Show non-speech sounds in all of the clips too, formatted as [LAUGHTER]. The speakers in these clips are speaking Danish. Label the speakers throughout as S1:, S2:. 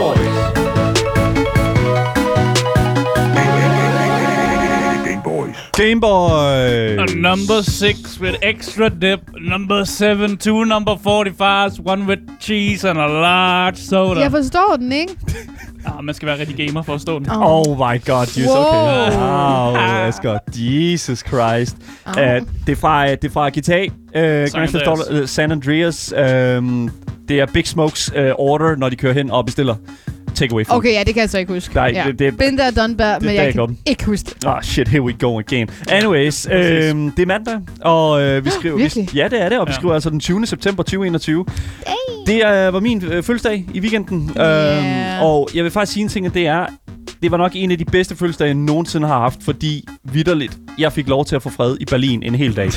S1: Gameboys.
S2: Gameboy!
S3: Uh, Number six with extra dip. Number seven, two number 45s, one with cheese and a large soda.
S4: Jeg forstår den, ikke?
S3: Ah, man skal være rigtig gamer for at stå den.
S2: Oh my god, you're so okay.
S4: Wow.
S2: Wow, Asger. Jesus Christ.
S4: Au.
S2: Uh, det er fra, det er fra GTA. Uh, Grand Theft Auto,
S3: Andreas.
S2: øh, San Andreas. Um, det er Big Smokes uh, order, når de kører hen og bestiller takeaway food.
S4: Okay, ja, det kan jeg så ikke huske.
S2: Nej,
S4: ja.
S2: det- det-
S4: Been there, done that,
S2: det
S4: men
S2: er
S4: jeg
S2: ikke
S4: kan
S2: om.
S4: ikke huske det.
S2: Ah, shit, here we go again. Anyways, øh,
S3: præcis. Ah,
S2: det er mandag, og øh, vi skriver... vi,
S4: virkelig?
S2: ja, det er det, og vi
S3: Ja.
S2: skriver altså den 20. september 2021. Det øh, var min øh, fødselsdag i weekenden,
S4: Ja.
S2: øh, og jeg vil faktisk sige en ting, at det er... Det var nok en af de bedste fødselsdage, jeg nogensinde har haft, fordi vidderligt, jeg fik lov til at få fred i Berlin en hel dag.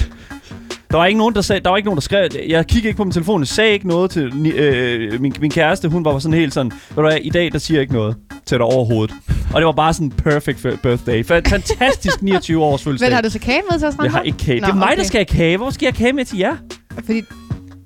S2: Der var ikke nogen, der sagde, der var ikke nogen, der skrev, jeg kiggede ikke på min telefon, jeg sagde ikke noget til ni- øh, min, min kæreste, hun var sådan helt sådan, ved du hvad, i dag, der siger jeg ikke noget til dig overhovedet. Og det var bare sådan en perfect f- birthday. Fa- Fantastisk 29 års fødselsdag.
S4: Men har du så kage med til os,
S2: Jeg har
S4: Randolph?
S2: ikke kage.
S4: Nå,
S2: det er mig,
S4: okay. Hmm.
S2: der skal have kage. Hvor skal jeg have kage med til jer?
S4: Fordi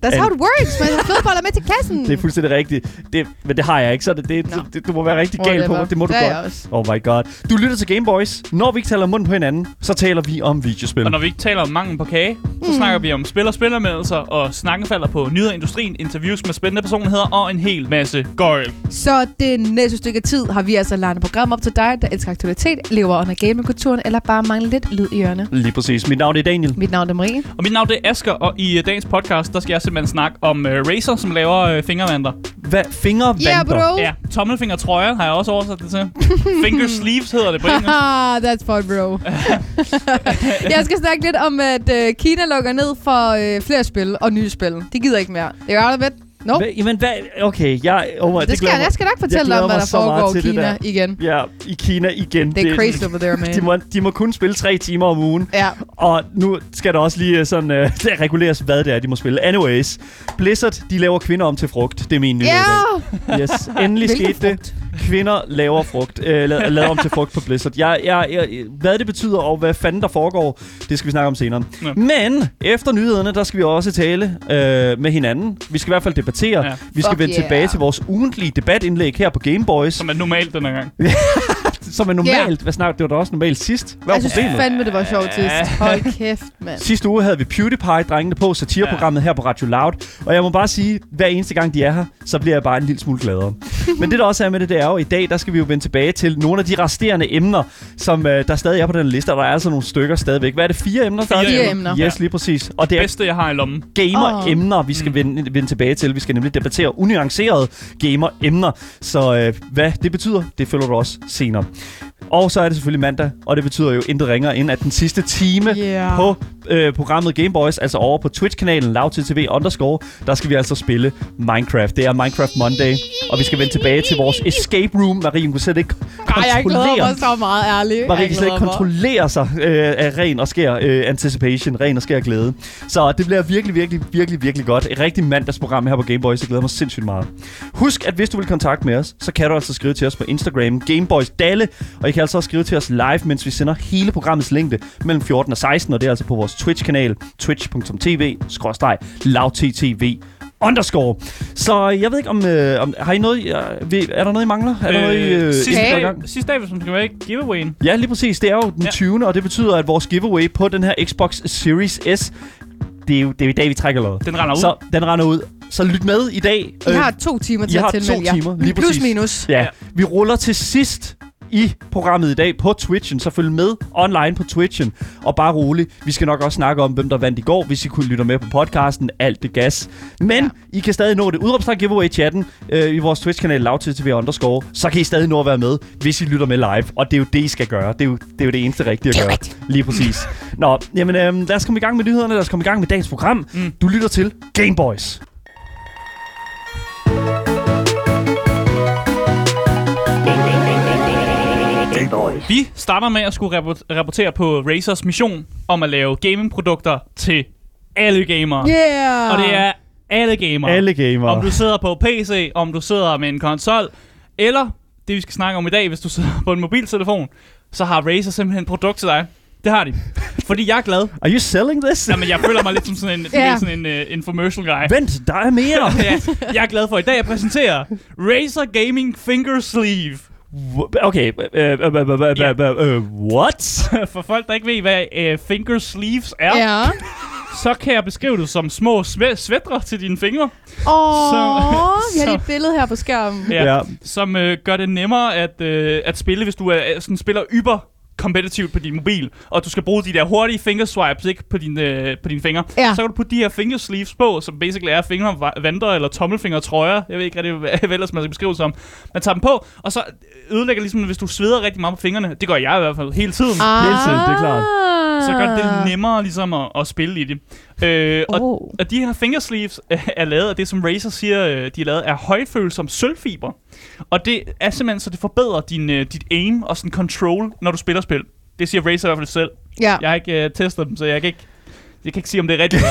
S4: that's how it works. [LAUGHS] Man har flødeboller med til kassen.
S2: Det er fuldstændig rigtigt. Det, men det har jeg ikke, så det, det,
S4: Nå.
S2: det, det, du må være rigtig gal på. mig. Det må du
S4: det er
S2: godt.
S4: jeg også.
S2: Oh my god. Du lytter til Gameboys. Når vi ikke taler om munden på hinanden, så taler vi om videospil.
S3: Og når vi ikke taler om mangel på kage, så snakker vi om spil- og spilanmeldelser, og snakken falder på nyheder i industrien, interviews med spændende personligheder og en hel masse gøjl.
S4: Så det næste stykke tid har vi altså lagt et program op til dig, der elsker aktualitet, lever under gamingkulturen eller bare mangler lidt lyd i ørerne.
S2: Lige præcis. Mit navn er Daniel.
S4: Mit navn er Marie.
S3: Og mit navn det er Asker, og i øh, dagens podcast, der skal jeg simpelthen snakke om uh, Razer, som laver øh, fingervandter.
S2: Hvad? Fingervandter?
S4: Yeah, bro.
S3: Ja, tommelfingertrøjer har jeg også oversat det til. Finger sleeves hedder det på engelsk.
S4: Haha, [LAUGHS] that's fun,
S2: [LAUGHS]
S4: bro. jeg skal snakke lidt om, at øh, Kina lukker ned for øh, flere spil og nye spil. De gider ikke mere. Det er out of it. Nope.
S2: Hvad, jamen, hvad? Okay, jeg... Oh my,
S4: Det, skal,
S2: glæder
S4: jeg skal nok fortælle dig
S2: glæder
S4: om, hvad
S2: mig
S4: der
S2: så meget
S4: foregår
S2: til
S4: i
S2: det
S4: Kina igen.
S2: mig- Ja, i Kina igen.
S4: Det er crazy over
S2: [LAUGHS]
S4: there,
S2: De
S4: man.
S2: må, de må kun spille tre timer om ugen.
S4: Ja.
S2: Og nu skal der også lige øh, sådan, øh, [LAUGHS] reguleres, hvad det er, de må spille. Anyways, Blizzard, de laver kvinder om til frugt. Det er min nyhed. i
S4: Ja!
S2: dag. Yes, endelig
S4: [LAUGHS] Hvilken
S2: skete det. Kvinder laver frugt. Øh,
S4: [LAUGHS]
S2: la- laver om til frugt på Blizzard. Jeg, jeg, jeg, hvad det betyder, og hvad fanden der foregår, det skal vi snakke om senere.
S3: Ja.
S2: Men efter nyhederne, der skal vi også tale øh, med hinanden. Vi skal i hvert fald debattere.
S3: Ja.
S2: Vi skal
S4: Fuck
S2: vende
S4: yeah.
S2: tilbage til vores ugentlige debatindlæg her på Gameboys,
S3: Som er normalt denne gang.
S2: som er normalt. Yeah. Hvad snakker, det var da også normalt sidst. Hvad var
S4: Jeg synes
S2: problemet?
S4: fandme, det var sjovt sidst. Hold kæft,
S2: [LAUGHS]
S4: mand.
S2: Sidste uge havde vi PewDiePie-drengene på satireprogrammet her på Radio Loud, og jeg må bare sige, hver eneste gang de er her, så bliver jeg bare en lille smule
S4: [LAUGHS]
S2: gladere. Men det der også er med det, det er jo, at i dag, der skal vi jo vende tilbage til nogle af de resterende emner, som øh, der stadig er på den liste, og der er altså nogle stykker stadigvæk. Hvad er det, fire emner? der er?
S3: Fire
S4: Fire emner.
S2: Yes, lige præcis. Og det er
S3: Bedste, jeg har i lommen.
S2: gamer-emner, vi
S4: Mm.
S2: skal vende, vende tilbage til. Vi skal nemlig debattere unuancerede gamer-emner. Så øh, hvad det betyder, det følger du også senere. Og så er det selvfølgelig mandag, og det betyder jo intet ringer end, at den sidste time
S4: Yeah.
S2: på øh, programmet Gameboys, altså over på Twitch-kanalen lavtidtv underscore, der skal vi altså spille Minecraft. Det er Minecraft Monday, og vi skal vende tilbage til vores escape room. Marie, hun kunne slet ikke
S4: Ej, jeg glæder
S2: kontrollere
S4: mig så meget, ærligt.
S2: Marie
S4: Jeg
S2: kan slet ikke
S4: glæder mig.
S2: kontrollere sig øh, af ren og skær øh, anticipation, ren og skær glæde. Så det bliver virkelig, virkelig, virkelig, virkelig godt. Et rigtig mandagsprogram her på Gameboys. Jeg glæder mig sindssygt meget. Husk, at hvis du vil kontakte med os, så kan du altså skrive til os på Instagram, Gameboys Dalle. Og I kan altså også skrive til os live, mens vi sender hele programmets længde mellem 14 og 16. Og det er altså på vores Twitch-kanal, twitch.tv-lavttv underscore. Så jeg ved ikke, om, øh, om har I noget, øh, ved- er der noget, I mangler? Er der noget, I, øh,
S3: sidste,
S2: I-
S3: dag, sidste dag, hvis man skal være i giveawayen.
S2: Ja, lige præcis. Det er jo den ja.
S3: Ja.
S2: 20. Og det betyder, at vores giveaway på den her Xbox Series S, det er jo, det er jo i dag, vi trækker lod.
S3: Den render ud.
S2: Så den render ud. Så lyt med i dag. Øh,
S4: I har to timer til
S2: I
S4: at
S2: har
S4: tilmelde
S2: to
S4: jer.
S2: timer, lige
S4: Plus
S2: præcis.
S4: minus.
S2: ja,
S3: Ja.
S2: vi ruller til sidst i programmet i dag på Twitchen, så følg med online på Twitchen. Og bare rolig, vi skal nok også snakke om, hvem der vandt i går, hvis I kunne lytte med på podcasten. Alt det gas. Men ja. I kan stadig nå det. Udropstegn giveaway i chatten øh, i vores Twitch-kanal lavtidtv underscore. Så kan I stadig nå at være med, hvis I lytter med live. Og det er jo det, I skal gøre. Det er jo det, er jo det eneste rigtige at gøre. Lige præcis. Nå, jamen øh, lad os komme i gang med nyhederne. Lad os komme i gang med dagens program. Mm. Du lytter til Gameboys.
S3: Vi starter med at skulle rappor- rapportere på Razers mission om at lave gamingprodukter til alle gamere.
S4: Yeah!
S3: Og det er alle gamere.
S2: Alle gamere.
S3: Om du sidder på PC, om du sidder med en konsol, eller det vi skal snakke om i dag, hvis du sidder på en mobiltelefon, så har Razer simpelthen et produkt til dig. Det Det har de. Fordi jeg er glad.
S2: Are you selling this?
S3: Jamen, jeg føler mig lidt som sådan en,
S4: Ja.
S3: yeah. sådan en uh, infomercial guy.
S2: Vent, der er
S3: [LAUGHS]
S2: mere.
S3: ja, jeg er glad for i dag, jeg præsenterer Razer Gaming Finger Sleeve. [LAUGHS]
S2: Wh- Okay. øh, øh, øh, øh, øh, øh, øh, What? [LAUGHS]
S3: For folk, der ikke ved, hvad uh, finger sleeves er,
S4: Ja.
S3: så kan jeg beskrive det som små svæ- svætre til dine fingre,
S4: Åh,
S3: Så-
S4: vi har
S3: så-
S4: lige et billede her på skærmen.
S3: Ja. som uh, gør det nemmere at, uh, at spille, hvis du er, sådan spiller yber kompetitivt på din mobil, og du skal bruge de der hurtige fingerswipes ikke, på, din, øh, på dine fingre,
S4: Ja.
S3: så kan du putte de her fingersleeves på, som basically er fingervanter eller tommelfingertrøjer. Jeg ved ikke rigtig, hvad [LAUGHS] hvad ellers man skal beskrive det som. Man tager dem på, og så ødelægger ligesom, hvis du sveder rigtig meget på fingrene. Det gør jeg i hvert fald hele tiden.
S4: Ah.
S2: Hele tiden, det er klart.
S3: så gør det det nemmere ligesom at, at spille i det. Øh, og,
S4: Oh.
S3: og de her fingersleeves øh, er lavet af det, som Razer siger, øh, de er lavet af højfølsom sølvfiber. Og det er simpelthen, så det forbedrer din, øh, dit aim og sådan control, når du spiller spil. Det siger Razer i hvert fald selv.
S4: Ja.
S3: Jeg har ikke øh, testet dem, så jeg kan ikke, jeg kan ikke sige, om det er rigtigt.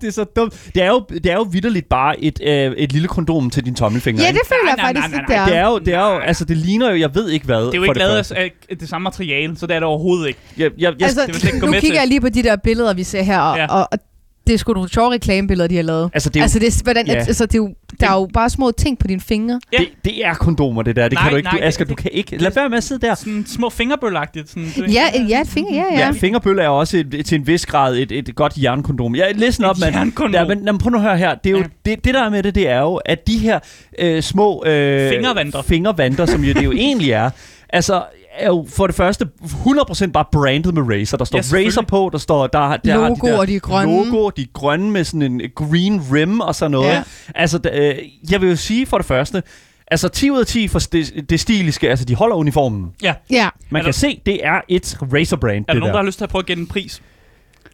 S2: Det er så dumt. Det er jo, det er jo vidderligt bare et, øh, et lille kondom til din tommelfinger.
S4: Ja,
S2: ikke?
S4: det føler
S3: Nej,
S4: jeg
S3: nej,
S4: faktisk,
S3: nej, nej,
S4: at det er.
S2: det er jo, det er jo, altså det ligner jo, jeg ved ikke hvad.
S3: Det er jo
S2: for
S3: ikke lavet
S2: første.
S3: af, af det samme materiale, så det er det overhovedet ikke.
S2: Jeg, jeg, jeg,
S4: Altså,
S3: det vil jeg ikke gå
S4: nu
S3: med
S4: kigger
S3: til.
S4: jeg lige på de der billeder, vi ser her, og,
S3: Ja.
S4: og, og det er sgu nogle sjove reklamebilleder, de har lavet.
S2: altså, det, er,
S4: Altså, det er, hvordan,
S2: Ja.
S4: altså det er jo, der er jo bare små ting på dine fingre.
S3: Ja.
S2: det, det er kondomer, det der. Det
S3: Nej,
S2: kan du ikke.
S3: nej,
S2: du, Asger,
S3: det-
S2: du kan ikke. Lad være med at sidde der.
S3: Sådan små fingerbølagtigt. Sådan, du ved.
S4: Ja, et- ja, et finger, ja, ja.
S2: Ja, fingerbøl er også et, til en vis grad et, et godt jernkondom. Ja, listen
S3: Et
S2: op, mand.
S3: jernkondom.
S2: Ja, men, jamen, prøv nu at høre her. Det, er jo,
S3: Ja.
S2: det, det, der er med det, det er jo, at de her øh, små... Øh,
S3: Fingervanter.
S2: Fingervanter, som jo, det
S3: [LAUGHS]
S2: jo egentlig er. Altså, er jo for det første 100% bare brandet med Razer. Der står
S3: Ja,
S2: ja,
S3: selvfølgelig.
S2: Razer på, der står... Der, der har
S4: Logo,
S2: de der
S4: og de er grønne.
S2: Logo, de er grønne med sådan en green rim og sådan noget.
S4: Ja.
S2: Ja. Altså, d- øh, jeg vil jo sige for det første... Altså 10 ud af 10 for det, det stiliske, altså de holder uniformen.
S3: ja.
S4: Ja.
S2: Man
S3: Er
S2: kan
S3: der-
S2: se, det er et Razer-brand,
S3: Er der
S2: det
S3: nogen,
S2: der.
S3: der har lyst til at prøve at gætte en pris?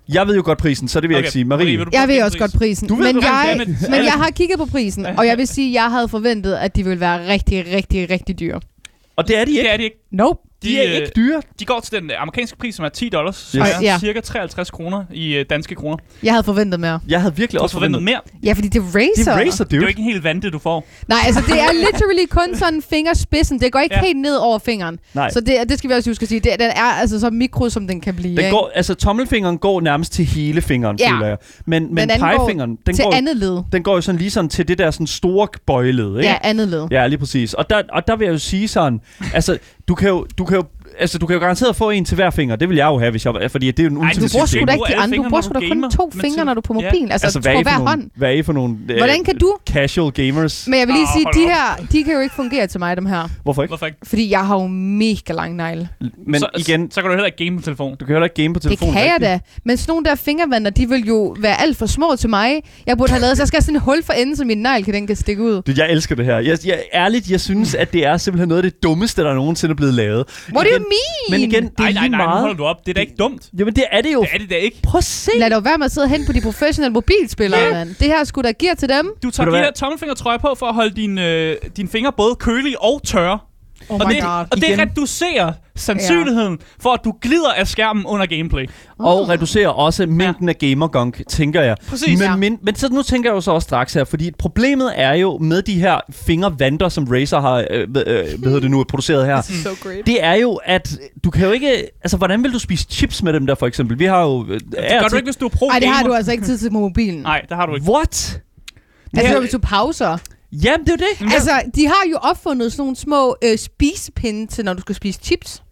S2: Jeg ved jo godt prisen, så det vil okay. jeg ikke sige. Marie,
S3: vil du prøve
S4: Jeg
S3: at
S4: ved
S3: gætte
S4: også
S3: en
S4: godt
S3: pris?
S4: prisen,
S3: Du ved
S4: men
S3: godt,
S4: jeg,
S3: hvad det er, men-
S4: men jeg har kigget på prisen, og jeg vil sige, at jeg havde forventet, at de ville være rigtig, rigtig, rigtig dyre.
S2: og det er de ikke.
S3: Det er de ikke.
S4: Nope.
S3: De,
S2: De er
S3: øh,
S2: ikke dyre.
S3: De går til den øh, amerikanske pris, som er 10 dollars, som
S2: Yes.
S3: er
S4: Ja.
S3: cirka 53 kroner i øh, danske kroner. Du
S4: Jeg havde forventet mere.
S2: Jeg havde virkelig
S3: har
S2: også
S3: forventet
S2: forventet.
S3: mere.
S4: Ja, fordi det er
S2: Det
S4: Razer.
S2: er Razer,
S3: Det er jo
S2: dude.
S3: ikke en helt vante, du får.
S4: Nej, altså det er literally kun sådan fingerspidsen. Det går ikke
S3: Ja.
S4: helt ned over fingeren.
S2: Nej.
S4: Så det, det skal vi også huske at sige. Det, den er altså så mikro, som den kan blive.
S2: Den
S4: ikke?
S2: går, altså tommelfingeren går nærmest til hele fingeren,
S4: øh, Ja.
S2: ja. føler jeg. Men, men
S4: den går
S2: pegefingeren, den
S4: til
S2: går,
S4: andet led.
S2: den går jo sådan lige sådan til det der sådan store bøjled, ikke?
S4: Ja, andet led.
S2: Ja, lige præcis. Og der, og der vil jeg jo sige sådan, altså du kan jo, du kan jo, altså, du kan jo garanteret få en til hver finger. Det vil jeg jo have, Altså, hvis jeg, fordi det er jo en
S3: Ej, du
S4: Du
S2: ultimativ
S4: bruger
S3: skal
S4: sgu
S2: ting.
S4: da
S3: ikke
S4: ikke
S3: bruge
S4: de
S3: alle fingre,
S4: andre. Du bruger
S3: når
S4: sgu
S3: du
S4: da kun
S3: gamer,
S4: to
S3: men
S4: fingre,
S3: til-
S4: når du er på
S3: Ja.
S4: mobilen. Altså, altså
S2: hvad
S4: på
S2: er I for
S4: hver
S2: nogle,
S4: hånd.
S2: hvad er I for nogle øh,
S4: Hvordan kan du?
S2: casual gamers?
S4: Men jeg vil lige
S3: Ah,
S4: sige,
S3: hold
S4: de
S3: op.
S4: her, de kan jo ikke fungere til mig, dem her.
S2: Hvorfor ikke?
S3: Hvorfor ikke?
S4: Fordi jeg har jo mega lang negle.
S2: Men
S3: så,
S2: igen,
S3: Så, så kan du heller ikke game på telefonen.
S2: du kan jo heller ikke game på
S4: Det
S2: telefonen.
S4: kan jeg
S2: rigtigt.
S4: da. Men sådan nogle der fingervander, de vil jo være alt for små til mig. Jeg burde have lavet, så jeg skal have sådan et hul for enden, så min negl kan, den kan stikke ud.
S2: Du, jeg elsker det her. Jeg, jeg, ærligt, jeg synes, at det er simpelthen noget af det dummeste, der nogensinde er blevet lavet.
S4: What do you
S2: Igen-
S4: mean?
S2: Men igen, det er
S3: Nej, nej,
S2: lige
S3: nej, nu holder
S2: meget.
S3: du op. Det er da ikke dumt.
S2: Jamen, det er det jo.
S3: Det er det da ikke.
S2: Prøv at se.
S4: Lad dog være med at sidde hen på de professionelle mobilspillere, yeah. mand. Det her skulle da gear til dem.
S3: Du tager
S2: Ved du
S3: de
S2: hvad?
S3: her tommelfingertrøjer på for at holde dine øh, din fingre både kølige og tørre.
S4: Oh
S3: og, det, og det
S2: Igen.
S3: reducerer sandsynligheden for, at du glider af skærmen under gameplay.
S2: Og reducerer også mængden af gamergunk, tænker jeg.
S3: Præcis.
S2: Men,
S4: Ja.
S2: men, men så nu tænker jeg jo så også straks her, fordi problemet er jo med de her fingervanter, som Razer har øh, hvad, øh, hvad hedder det nu, produceret her.
S4: So great.
S2: Det er jo, at du kan jo ikke... Altså, hvordan vil du spise chips med dem der, for eksempel? Vi har jo... Øh,
S3: Det gør du ikke, hvis du er pro
S4: Ej, det har
S3: gamer.
S4: du altså ikke tid til på mobilen.
S3: Nej, det har du ikke.
S2: What?
S4: Altså,
S3: Ja.
S4: når du pauser.
S2: Jamen, det er jo
S3: Mm.
S2: det.
S4: Altså, de har jo opfundet sådan nogle små øh, spisepinde til, når du skal spise chips.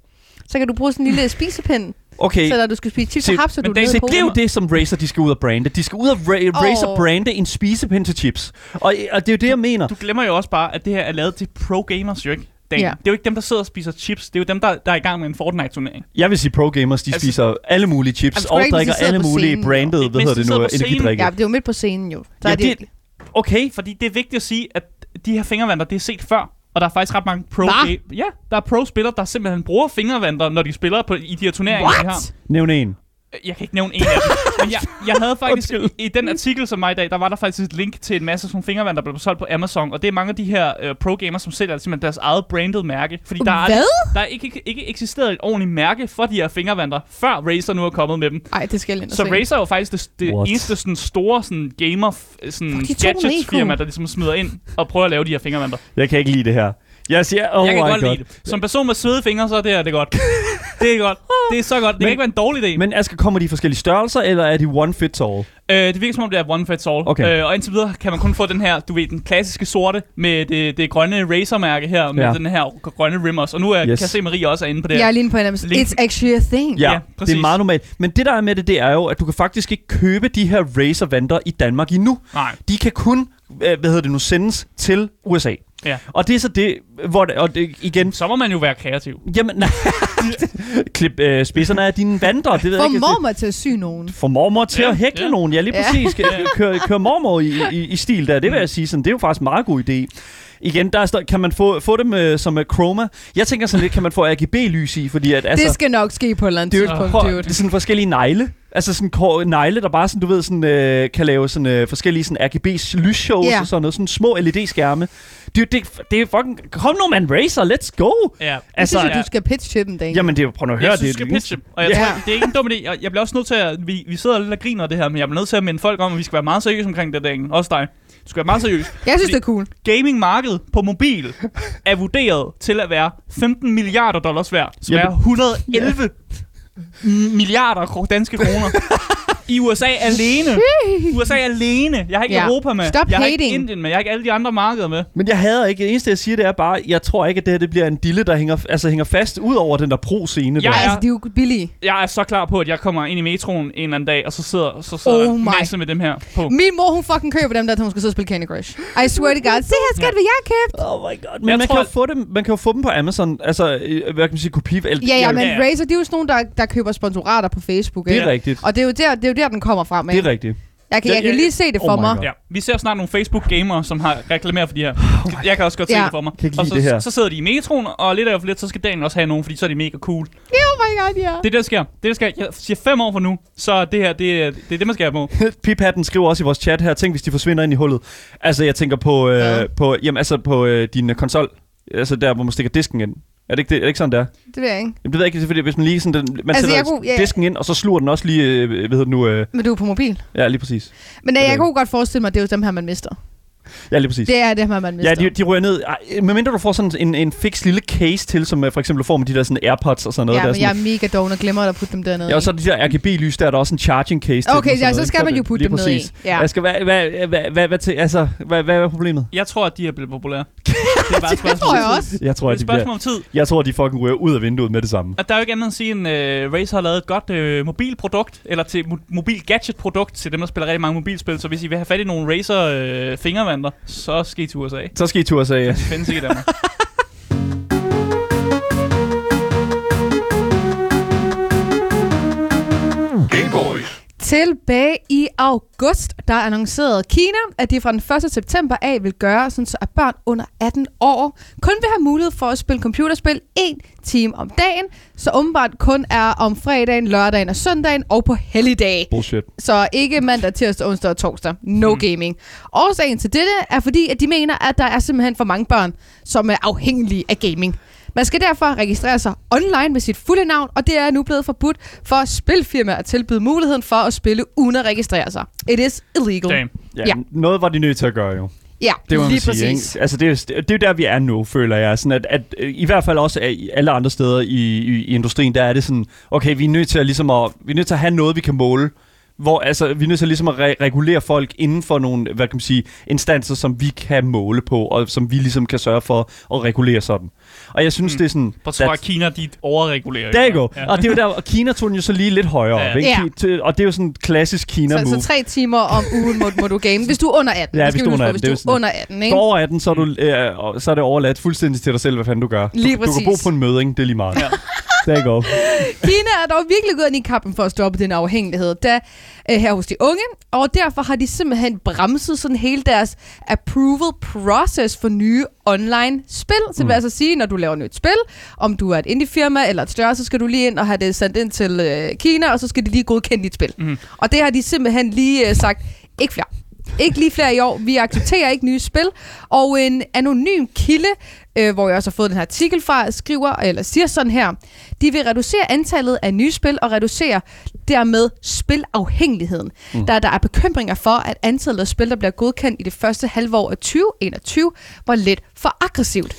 S4: Så kan du bruge sådan en lille spisepind,
S2: Okay.
S4: så når du skal spise chips, så
S2: Se,
S4: hapser
S3: men
S4: du
S3: det-
S4: den ned
S2: Se,
S4: i
S3: se,
S2: det er jo
S4: posen.
S2: det, som Razer de skal ud og brande. De skal ud og ra-
S4: Åh.
S2: Razer brande en spisepind til chips. Og, og det er jo det, jeg mener.
S3: Du glemmer jo også bare, at det her er lavet til pro-gamers, jo ikke? Dan. Det
S4: Ja.
S3: er jo ikke dem, der sidder og spiser chips. Det er jo dem, der, der er i gang med en Fortnite-turnering.
S2: Jeg vil sige, pro-gamers, de
S3: Altså-
S2: spiser alle mulige
S4: Jamen,
S2: chips
S4: tror du
S2: og
S4: ikke, hvis de
S2: drikker
S4: sidder
S2: alle
S4: på
S2: mulige
S4: scenen?
S2: branded, hvad
S3: Ikke, hvis
S2: hedder
S3: de
S2: det
S3: sidder
S2: nu,
S3: på scenen.
S2: energidrikke.
S4: Ja, det er jo midt på scenen jo. Så
S2: Ja,
S4: er det,
S2: det- Okay,
S3: Fordi det er vigtigt at sige, at de her fingervanter, det er set før. Og der er faktisk ret mange pro
S4: Hva?
S3: Ja, der er pro-spillere, der simpelthen bruger fingervanter, når de spiller på, i de her turneringer, de
S4: What?
S3: har.
S2: nævn en.
S3: Jeg kan ikke nævne en af dem. Men jeg, jeg
S4: [LAUGHS]
S3: havde faktisk, i den artikel som mig i dag, der var der faktisk et link til en masse sådan fingervand, der blev solgt på Amazon. Og det er mange af de her øh, pro-gamers, som sælger simpelthen deres eget branded mærke. Fordi der er,
S4: Um, Hvad?
S3: der er ikke, ikke, ikke eksisteret et ordentligt mærke for de her fingervandter, før Razer nu er kommet med dem.
S4: Ej, det skal jeg ind og
S3: Så
S4: se.
S3: Razer er jo faktisk det, det
S2: What?
S3: eneste sådan store sådan gamer f- sådan
S4: Fuck, de tog den
S3: gadgets firma,
S4: Lego.
S3: der ligesom smider ind og prøver at lave de her fingervandter.
S2: Jeg kan ikke lide det her. Jeg siger, oh
S3: jeg kan
S2: my
S3: godt
S2: god. [LAUGHS]
S3: lide det. Som person med søde fingre, så er det her det godt. Det er godt. Det er så godt. Det men,
S2: Men-
S3: kan ikke være en dårlig idé. Men,
S2: Men Asger, kommer de i forskellige størrelser, eller er de one fits all?
S3: øh, det virker som om, det er one fits all.
S2: Okay.
S3: Øh, og indtil videre kan man kun få den her, du ved, den klassiske sorte med det, det grønne Razer-mærke her, med
S2: Ja.
S3: den her grønne rim også. Og nu er, yes.
S2: Yes.
S3: kan jeg se, Marie også er inde på det her.
S4: Jeg er lige inde på en
S3: Link.
S4: It's actually a thing.
S3: Ja,
S2: det
S3: præcis.
S2: er meget normalt. Men det, der er med det, det er jo, at du kan faktisk ikke købe de her Razer-vanter i Danmark endnu.
S3: Nej.
S2: De kan kun, øh, hvad hedder det nu, sendes til USA.
S3: Ja.
S2: Og det er så det, hvor det, og det, igen,
S3: Så må man jo være kreativ.
S2: jamen, nej. [LAUGHS] klip øh, spidserne af dine vanter, det ved jeg
S4: Får
S2: ikke.
S4: mor mig til at sy nogen.
S2: Får mormor til
S3: Ja,
S2: ja, at hækle
S3: ja.
S2: ja. nogen. Ja, lige
S4: Ja.
S2: præcis. Ja. Mm. Kør, kør mormor i, i, i stil der. Det vil jeg sige sådan. Det er jo faktisk en meget god idé. Igen, der er, stå- kan man få, få dem øh, som øh, chroma. Jeg tænker sådan lidt, kan man få RGB-lys i, fordi at, altså,
S4: det skal nok ske på et eller andet
S2: Dude,
S4: tidspunkt,
S2: prøv, Altså, det
S4: dude.
S2: er sådan forskellige negle. Altså sådan kor- negle, der bare sådan, du ved, sådan, øh, kan lave sådan, øh, forskellige sådan RGB lysshows
S4: Ja.
S2: yeah. og sådan noget. Sådan små LED-skærme. Dude, det, det er fucking... Kom nu, man, Razer, let's go!
S3: Ja.
S2: Altså,
S4: jeg synes,
S3: ja.
S4: jo, du skal pitche til dem, Dan.
S2: Jamen, det er jo... Prøv nu at høre,
S3: Jeg synes,
S2: det
S3: du
S2: er
S3: skal pitche. Og jeg
S2: Ja.
S3: tror, det er ikke en dum idé. Jeg, jeg bliver også nødt til at... Vi, vi sidder lidt og griner af det her, men jeg bliver nødt til at minde folk om, at vi skal være meget seriøse omkring det, Daniel. Også dig. Du skal være meget seriøs.
S4: Jeg synes, det er cool.
S3: Gaming-markedet på mobil er vurderet til at være 15 milliarder dollars værd. Som
S2: Jamen.
S3: er 111 milliarder kro- danske kroner. I USA alene. USA alene. Jeg har ikke
S4: Ja.
S3: Europa med.
S4: Stop
S3: jeg har ikke
S4: hating.
S3: Indien med. Jeg har ikke alle de andre markeder med.
S2: Men jeg hader ikke. Det eneste, jeg siger, det er bare, jeg tror ikke, at det her det bliver en dille, der hænger, altså, hænger fast ud over den der pro-scene.
S3: Ja,
S4: Ja,
S2: der.
S3: ja.
S4: altså, de er jo billige.
S3: Jeg er så klar på, at jeg kommer ind i metroen en eller anden dag, og så sidder, så sidder
S4: Oh
S3: oh
S4: my.
S3: masse med dem her på.
S4: Min mor, hun fucking køber dem der, til hun skal sidde og spille Candy Crush. I swear to God. Se her, skat, hvad jeg har købt.
S2: Oh my god. Men
S3: Jeg
S2: jeg man,
S3: tror-
S2: tror, kan jo få dem, man kan jo få dem på Amazon. Altså, øh, hvad kan man sige, kopi... Eller,
S4: Ja, ja, men
S3: ja.
S4: Razer, de er jo sådan nogen, der, der køber sponsorater på Facebook.
S2: Det
S4: Ikke?
S2: er rigtigt.
S4: Og det er, jo der, det er jo der, den kommer fra, med.
S2: Det er rigtigt. [LAUGHS]
S4: Jeg kan,
S3: Ja,
S4: jeg kan
S3: ja,
S4: lige se det
S2: oh
S4: for
S2: my
S4: mig.
S2: God.
S3: Ja, vi ser snart nogle Facebook-gamere, som har reklameret for de her.
S2: Oh
S3: Jeg kan også godt se
S4: Ja.
S3: det for mig.
S2: Kan ikke
S3: og
S2: lide
S3: så,
S2: det her.
S3: så sidder de i metroen, og lidt af lidt, så skal Daniel også have nogen, fordi så er de mega cool. Det
S4: Oh my god, ja.
S3: er det, der sker. Det, er det, der sker. Jeg siger fem år fra nu, så det her, det, er- det er det, man skal have på.
S2: Piphatten skriver også i vores chat her, tænk hvis de forsvinder ind i hullet. Altså, jeg tænker på, øh,
S4: Ja.
S2: ja. på, jamen, altså, på øh, din øh, konsol. Altså der, hvor man stikker disken ind. Er det ikke, det, er det ikke sådan, det er?
S4: Det ved jeg ikke.
S2: Jamen, det ved jeg ikke, det er fordi, hvis man lige sådan, den, man
S4: Altså,
S2: altså, sætter
S4: jeg kunne-
S2: kunne,
S4: ja.
S2: disken ind, og så sluger den også lige, øh, hvad hedder det nu, øh,
S4: Men du er på mobil.
S2: ja, lige præcis.
S4: Men øh,
S2: ved
S4: jeg
S2: jeg
S4: kunne godt forestille mig, at det er jo dem her, man mister.
S2: Ja, lige præcis.
S4: Det er dem her, man mister.
S2: Ja, de, de ryger ned. Ej, medmindre du får sådan en, en fix lille case til, som øh, for eksempel du får med de der sådan AirPods og sådan noget.
S4: ja
S2: der,
S4: men
S2: sådan,
S4: jeg er mega doven og glemmer at putte dem dernede.
S2: Ja, og
S4: i.
S2: så de der RGB-lys, der er der også en charging case til.
S4: Okay,
S2: dem og sådan
S4: ja,
S2: noget,
S4: så
S2: ikke?
S4: skal man
S2: det-
S4: jo putte
S2: lige
S4: dem ned i.
S2: præcis.
S4: Ja.
S2: Jeg skal, hvad, hvad, hvad, hvad, hvad, til, altså, hvad, hvad er problemet?
S3: Jeg tror, at de er blevet
S2: [LAUGHS]
S3: populære. Det er bare et spørgsmål.
S4: det tror jeg også.
S2: Jeg tror,
S3: Det er et
S2: at de bliver,
S3: spørgsmål om tid.
S2: jeg tror, de fucking ryger ud af vinduet med det samme.
S3: Og der er jo ikke andet at sige, end uh, Razer har lavet et godt uh, mobilprodukt, eller til mo- mobil gadgetprodukt til dem, der spiller rigtig mange mobilspil. Så hvis I vil have fat i nogle Razer uh, fingervandter, så skal I til USA.
S2: Så skal I tur og sige,
S3: Det findes ikke i
S2: [LAUGHS]
S3: Danmark.
S1: Game Boys.
S4: Tilbage i august, der annoncerede Kina, at de fra den 1. september af vil gøre, sådan så at børn under 18 år kun vil have mulighed for at spille computerspil en time om dagen, så åbenbart kun er om fredagen, lørdagen og søndagen og på helligdage.
S2: bullshit.
S4: Så ikke mandag, tirsdag, onsdag og torsdag. No mm. gaming. Årsagen til dette er fordi, at de mener, at der er simpelthen for mange børn, som er afhængige af gaming. Man skal derfor registrere sig online med sit fulde navn, og det er nu blevet forbudt for spilfirmaer at tilbyde muligheden for at spille uden at registrere sig. It is illegal.
S3: Damn.
S2: Ja,
S4: Ja.
S2: ja. Noget var de nødt til at gøre, jo.
S4: Ja,
S2: Det må
S4: lige
S2: man sige,
S4: præcis.
S2: ikke? Altså, det er, jo- det er jo der, vi er nu, føler jeg. Sådan at, at, øh, I hvert fald også øh, i alle andre steder i, i, i industrien, der er det sådan, okay, vi er nødt til at, ligesom at, vi er nødt til at have noget, vi kan måle. Hvor altså, vi er nødt til ligesom at re- regulere folk inden for nogle, hvad kan man sige, instanser, som vi kan måle på, og som vi ligesom kan sørge for at regulere sådan. Og jeg synes,
S3: Mm.
S2: mm. det er sådan...
S3: På tror,
S2: that's-
S3: at Kina, de overregulerer. jo.
S2: There you go.
S3: Ja.
S2: Ja. Og det er jo der, og Kina tog den jo så lige lidt højere
S3: Ja.
S2: op, ikke?
S4: Ja.
S2: Ki- t- Og det er jo sådan en klassisk Kina-move.
S4: Så, så tre timer om ugen må, må du game, hvis du er under 18.
S2: Ja,
S4: Det skal
S2: hvis
S4: vi
S2: du er under
S4: huske på,
S2: 18, det er jo
S4: Hvis du
S2: sådan-
S4: er under 18, ikke? Mm.
S2: Står over 18, så er, du, øh, og så er det overladt fuldstændig til dig selv, hvad fanden du gør.
S4: Lige
S2: du, du kan bo
S4: præcis.
S2: på en møding, det er lige meget.
S3: Ja.
S2: [LAUGHS] Ja. Der er go.
S4: Kina er dog virkelig gået ind i kampen for at stoppe den afhængighed da, øh, her hos de unge, og derfor har de simpelthen bremset sådan hele deres approval process for nye online spil. Så det vil altså sige, når du laver nyt spil, om du er et indie-firma eller et større, så skal du lige ind og have det sendt ind til øh, Kina, og så skal de lige godkende dit spil.
S3: Mhm.
S4: Og det har de simpelthen lige øh, sagt, ikke flere. Ikke lige flere i år. Vi accepterer ikke nye spil. Og en anonym kilde, øh, hvor jeg også har fået den her artikel fra, skriver, eller siger sådan her. De vil reducere antallet af nye spil og reducere dermed spilafhængigheden. Mm. Der, der er bekymringer for, at antallet af spil, der bliver godkendt i det første halvår af 2021, var lidt for aggressivt.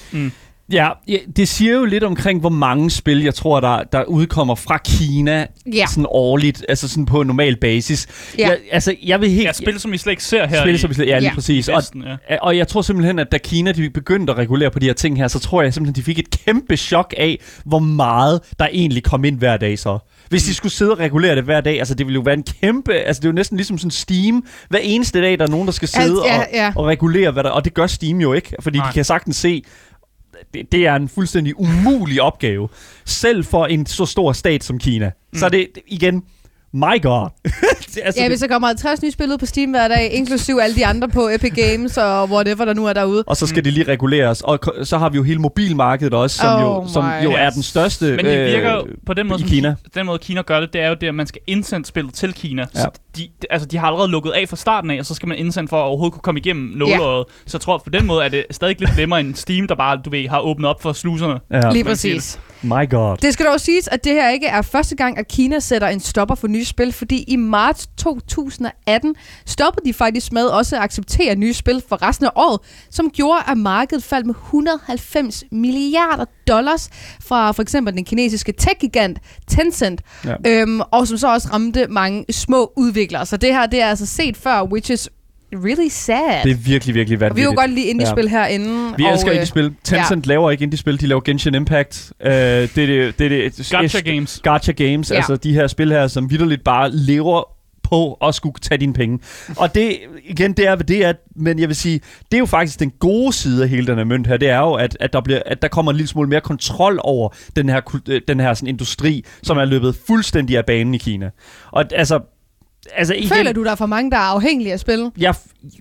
S2: Ja, ja, det siger jo lidt omkring, hvor mange spil, jeg tror, der, der udkommer fra Kina
S4: Ja.
S2: sådan årligt, altså sådan på normal basis.
S4: Ja.
S2: Jeg, altså, jeg vil helt...
S3: Ja, spil, som I slet ikke ser her
S2: spil,
S3: i
S2: som vi slet, ja, lige
S4: Ja.
S2: præcis. Og,
S3: Vesten, ja.
S2: og jeg tror simpelthen, at da Kina de begyndte at regulere på de her ting her, så tror jeg simpelthen, de fik et kæmpe chok af, hvor meget der egentlig kom ind hver dag så. Hvis
S3: Mm.
S2: de skulle sidde og regulere det hver dag, altså det ville jo være en kæmpe... Altså det er jo næsten ligesom sådan Steam. Hver eneste dag, der er nogen, der skal sidde
S4: Alt- ja,
S2: og,
S4: ja.
S2: og regulere, hvad der... Og det gør Steam jo ikke, fordi
S3: Nej.
S2: de kan sagtens se... Det, det er en fuldstændig umulig opgave. Selv for en så stor stat som Kina. Mm. Så er det, det- igen, my god. [LAUGHS] Det- altså,
S4: Ja,
S2: det-
S4: hvis der kommer 50 nye spil ud på Steam hver dag, inklusiv alle de andre på Epic Games og whatever, der nu er derude.
S2: Og så skal mm. det lige reguleres. Og ko- så har vi jo hele mobilmarkedet også, som,
S4: Oh
S2: jo, som
S4: my.
S2: jo er
S3: Yes.
S2: den største
S3: Men det virker øh, på den måde,
S2: i
S3: som
S2: Kina.
S3: Ki- den måde Kina gør det, det er jo det, at man skal indsende spillet til Kina. Ja.
S2: Ja.
S3: Så de, de- altså, de har allerede lukket af fra starten af, og så skal man indsende for at overhovedet kunne komme igennem nåleåret. Ja. Så jeg tror, på den måde er det stadig lidt nemmere end Steam, der bare, du ved, har åbnet op for sluserne.
S2: Ja.
S4: Lige
S3: man siger
S4: præcis.
S2: My god.
S4: Det skal dog siges, at det her ikke er første gang, at Kina sætter en stopper for nye spil, fordi i marts 2018 stoppede de faktisk med også at acceptere nye spil for resten af året, som gjorde, at markedet faldt med 190 milliarder dollars fra for eksempel den kinesiske tech-gigant Tencent,
S2: Ja.
S4: øhm, og som så også ramte mange små udviklere. Så det her, det er altså set før, which is really sad.
S2: Det er virkelig, virkelig
S4: og vi
S2: vanvittigt.
S4: jo godt lide indie-spil ja. herinde.
S2: Vi
S4: og,
S2: elsker
S4: øh,
S2: indie-spil. Tencent laver ikke indie-spil, de laver Genshin Impact. Øh, det er det, det, er det,
S3: Gacha Games.
S2: Gacha Games,
S4: Ja.
S2: ja. altså de her spil her, som vidderligt bare lever på at skulle tage dine penge. Og det, igen, det er, hvad det er, men jeg vil sige, det er jo faktisk den gode side af hele den her mønt her, det er jo, at, at, der, bliver, at der kommer en lille smule mere kontrol over den her, kul- øh, den her sådan, industri, som er løbet fuldstændig af banen i Kina. Og altså, altså igen,
S4: Føler du, der er for mange, der er afhængige af spil?
S2: jeg,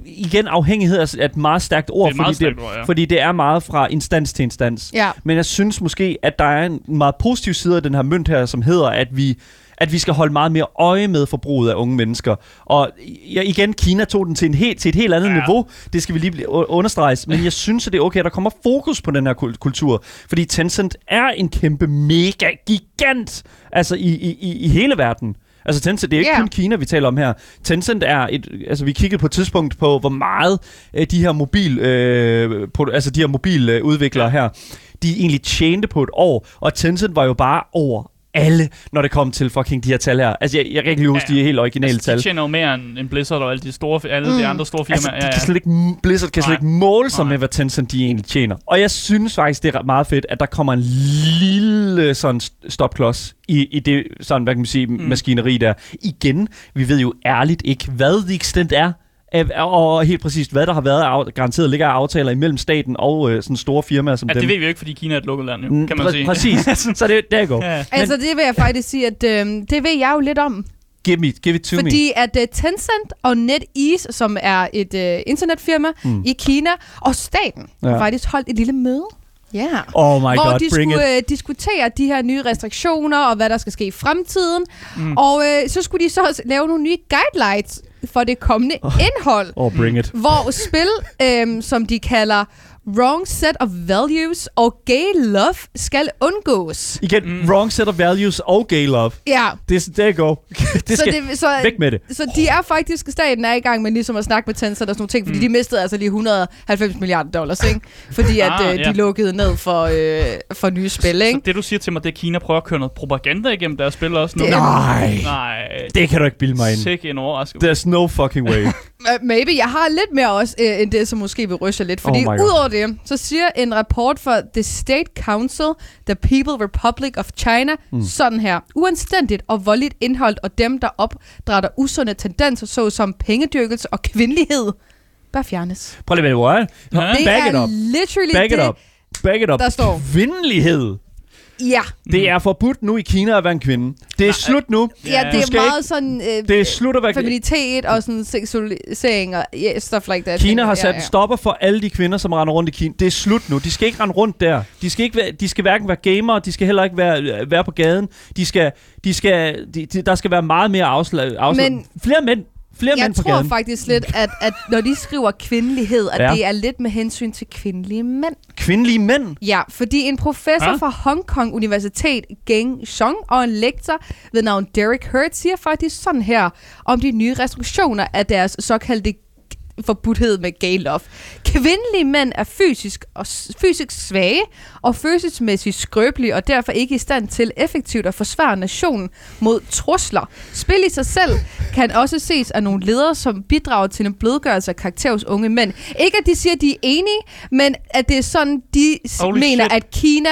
S2: igen, afhængighed er s- er et meget stærkt ord,
S3: Det er et meget
S2: fordi,
S3: stærkt
S2: det,
S3: ord, ja.
S2: fordi det er meget fra instans til instans.
S4: Ja.
S2: Men jeg synes måske, at der er en meget positiv side af den her mønt her, som hedder, at vi at vi skal holde meget mere øje med forbruget af unge mennesker. Og ja, igen, Kina tog den til, en helt, til et helt andet
S3: Ja.
S2: ja. niveau. Det skal vi lige bl- u- understreges. Men jeg synes, at det er okay, at der kommer fokus på den her kul- kultur. Fordi Tencent er en kæmpe, mega gigant altså i, i, i, i hele verden. Altså Tencent, det er ikke
S4: Ja.
S2: yeah. kun Kina, vi taler om her. Tencent er et... Altså, vi kiggede på et tidspunkt på, hvor meget øh, de her mobil, øh, produ- altså, de her mobiludviklere her, de egentlig tjente på et år. Og Tencent var jo bare over alle, når det kom til fucking de her tal her. Altså, jeg, jeg kan ikke lige huske
S3: Ja,
S2: de
S3: ja.
S2: helt originale
S3: Altså,
S2: tal.
S3: de tjener jo mere end, end Blizzard og alle de, store, alle mm. de andre store firmaer.
S2: Altså, de kan slet ikke, Blizzard kan
S3: Nej.
S2: slet ikke måle sig
S3: Nej.
S2: med, hvad Tencent de egentlig tjener. Og jeg synes faktisk, det er ret- meget fedt, at der kommer en lille sådan st- stopklods i, i det sådan, hvad kan man sige, mm. maskineri der. Igen, vi ved jo ærligt ikke, hvad the extent er, af- og helt præcist, hvad der har været af, garanteret ligger af aftaler imellem staten og øh, sådan store firmaer som
S3: Ja, Altså, det
S2: dem.
S3: ved vi jo ikke, fordi Kina er et lukket land, jo,
S2: Mm,
S3: kan man
S2: præ-
S3: sige. [LAUGHS] Altså.
S2: Præcis. Så det, der går.
S3: Ja.
S4: Men, altså, det vil jeg faktisk sige, at øh, det ved jeg jo lidt om.
S2: Give, me, give it to me.
S4: Fordi at uh, Tencent og NetEase, som er et uh, internetfirma mm. i Kina, og staten ja.
S2: Ja.
S4: har faktisk holdt et lille møde. Ja. Yeah.
S2: Oh my
S4: hvor
S2: god,
S4: de
S2: bring it.
S4: skulle øh, diskutere de her nye restriktioner og hvad der skal ske i fremtiden. Mm. Og øh, så skulle de så også lave nogle nye guidelines for det kommende oh. indhold.
S2: Oh,
S3: Mm.
S2: bring it.
S4: hvor spil, øhm, som de kalder Wrong Set of Values og Gay Love, skal undgås.
S2: Igen, mm. wrong set of values og gay love.
S4: Ja,
S2: Det, der går. [LAUGHS] det
S4: så,
S2: skal
S4: det, så,
S2: væk med det.
S4: så de er faktisk, staten er i gang med ligesom at snakke med Tencent og sådan nogle ting, fordi mm. de mistede altså lige 190 milliarder dollars, ikke? Fordi at
S3: Ah,
S4: øh,
S3: ja.
S4: de lukkede ned for, øh, for nye spil,
S3: Så
S4: ikke?
S3: det, du siger til mig, det er, at Kina prøver at køre noget propaganda igennem deres spil også nu.
S4: Det-
S2: Nej.
S3: Nej.
S2: Det kan du ikke bilde mig ind.
S3: Sikke en overraskelse.
S2: There's no fucking way.
S4: Uh, maybe. Jeg har lidt mere også, uh, end det, som måske vil ryste lidt. Fordi
S2: Oh my
S4: oh
S2: God.
S4: udover det, så siger en rapport for The State Council, The People Republic of China, mm. sådan her. Uanstændigt og voldeligt indhold, og dem, der opdrætter usunde tendenser, såsom pengedyrkelse og kvindelighed, bør fjernes.
S2: Prøv lige at vende
S3: Ja.
S4: det
S2: Back
S4: er
S2: it up.
S4: literally
S2: Back it
S4: det.
S2: up. Back it up.
S4: Der står-
S2: Kvindelighed.
S4: Ja.
S2: Det er forbudt nu i Kina at være en kvinde. Det er slut nu.
S4: Ja,
S3: Du
S4: det
S2: skal
S4: er meget sådan øh,
S2: Det er slut at være kvinde.
S4: feminitet og sådan seksualisering og yeah, stuff like that.
S2: Kina har sat
S4: ja,
S2: en
S4: ja.
S2: stopper for alle de kvinder, som render rundt i Kina. Det er slut nu. De skal ikke rende rundt der. De skal, ikke være, de skal hverken være gamere, de skal heller ikke være, være på gaden. De skal, de skal, de, de, der skal være meget mere afslag. afslag.
S4: Men-
S2: Men flere mænd. Flere
S4: Jeg
S2: mænd på
S4: tror
S2: gaden.
S4: faktisk lidt, at, at når de skriver kvindelighed, at ja.
S2: Ja.
S4: det er lidt med hensyn til kvindelige mænd.
S2: Kvindelige mænd.
S4: Ja, fordi en professor ja.
S3: Ja.
S4: fra Hong Kong Universitet, Geng Chong, og en lektor ved navn Derek Hurt, siger faktisk sådan her om de nye restriktioner af deres såkaldte forbudthed med gay love. Kvindelige mænd er fysisk og s- fysisk svage og følelsesmæssigt skrøbelige og derfor ikke i stand til effektivt at forsvare nationen mod trusler. Spil i sig selv kan også ses af nogle ledere, som bidrager til en blødgørelse af karakter hos unge mænd. Ikke at de siger, at de er enige, men at det er sådan, de s-
S3: Holy
S4: mener,
S3: shit.
S4: at Kina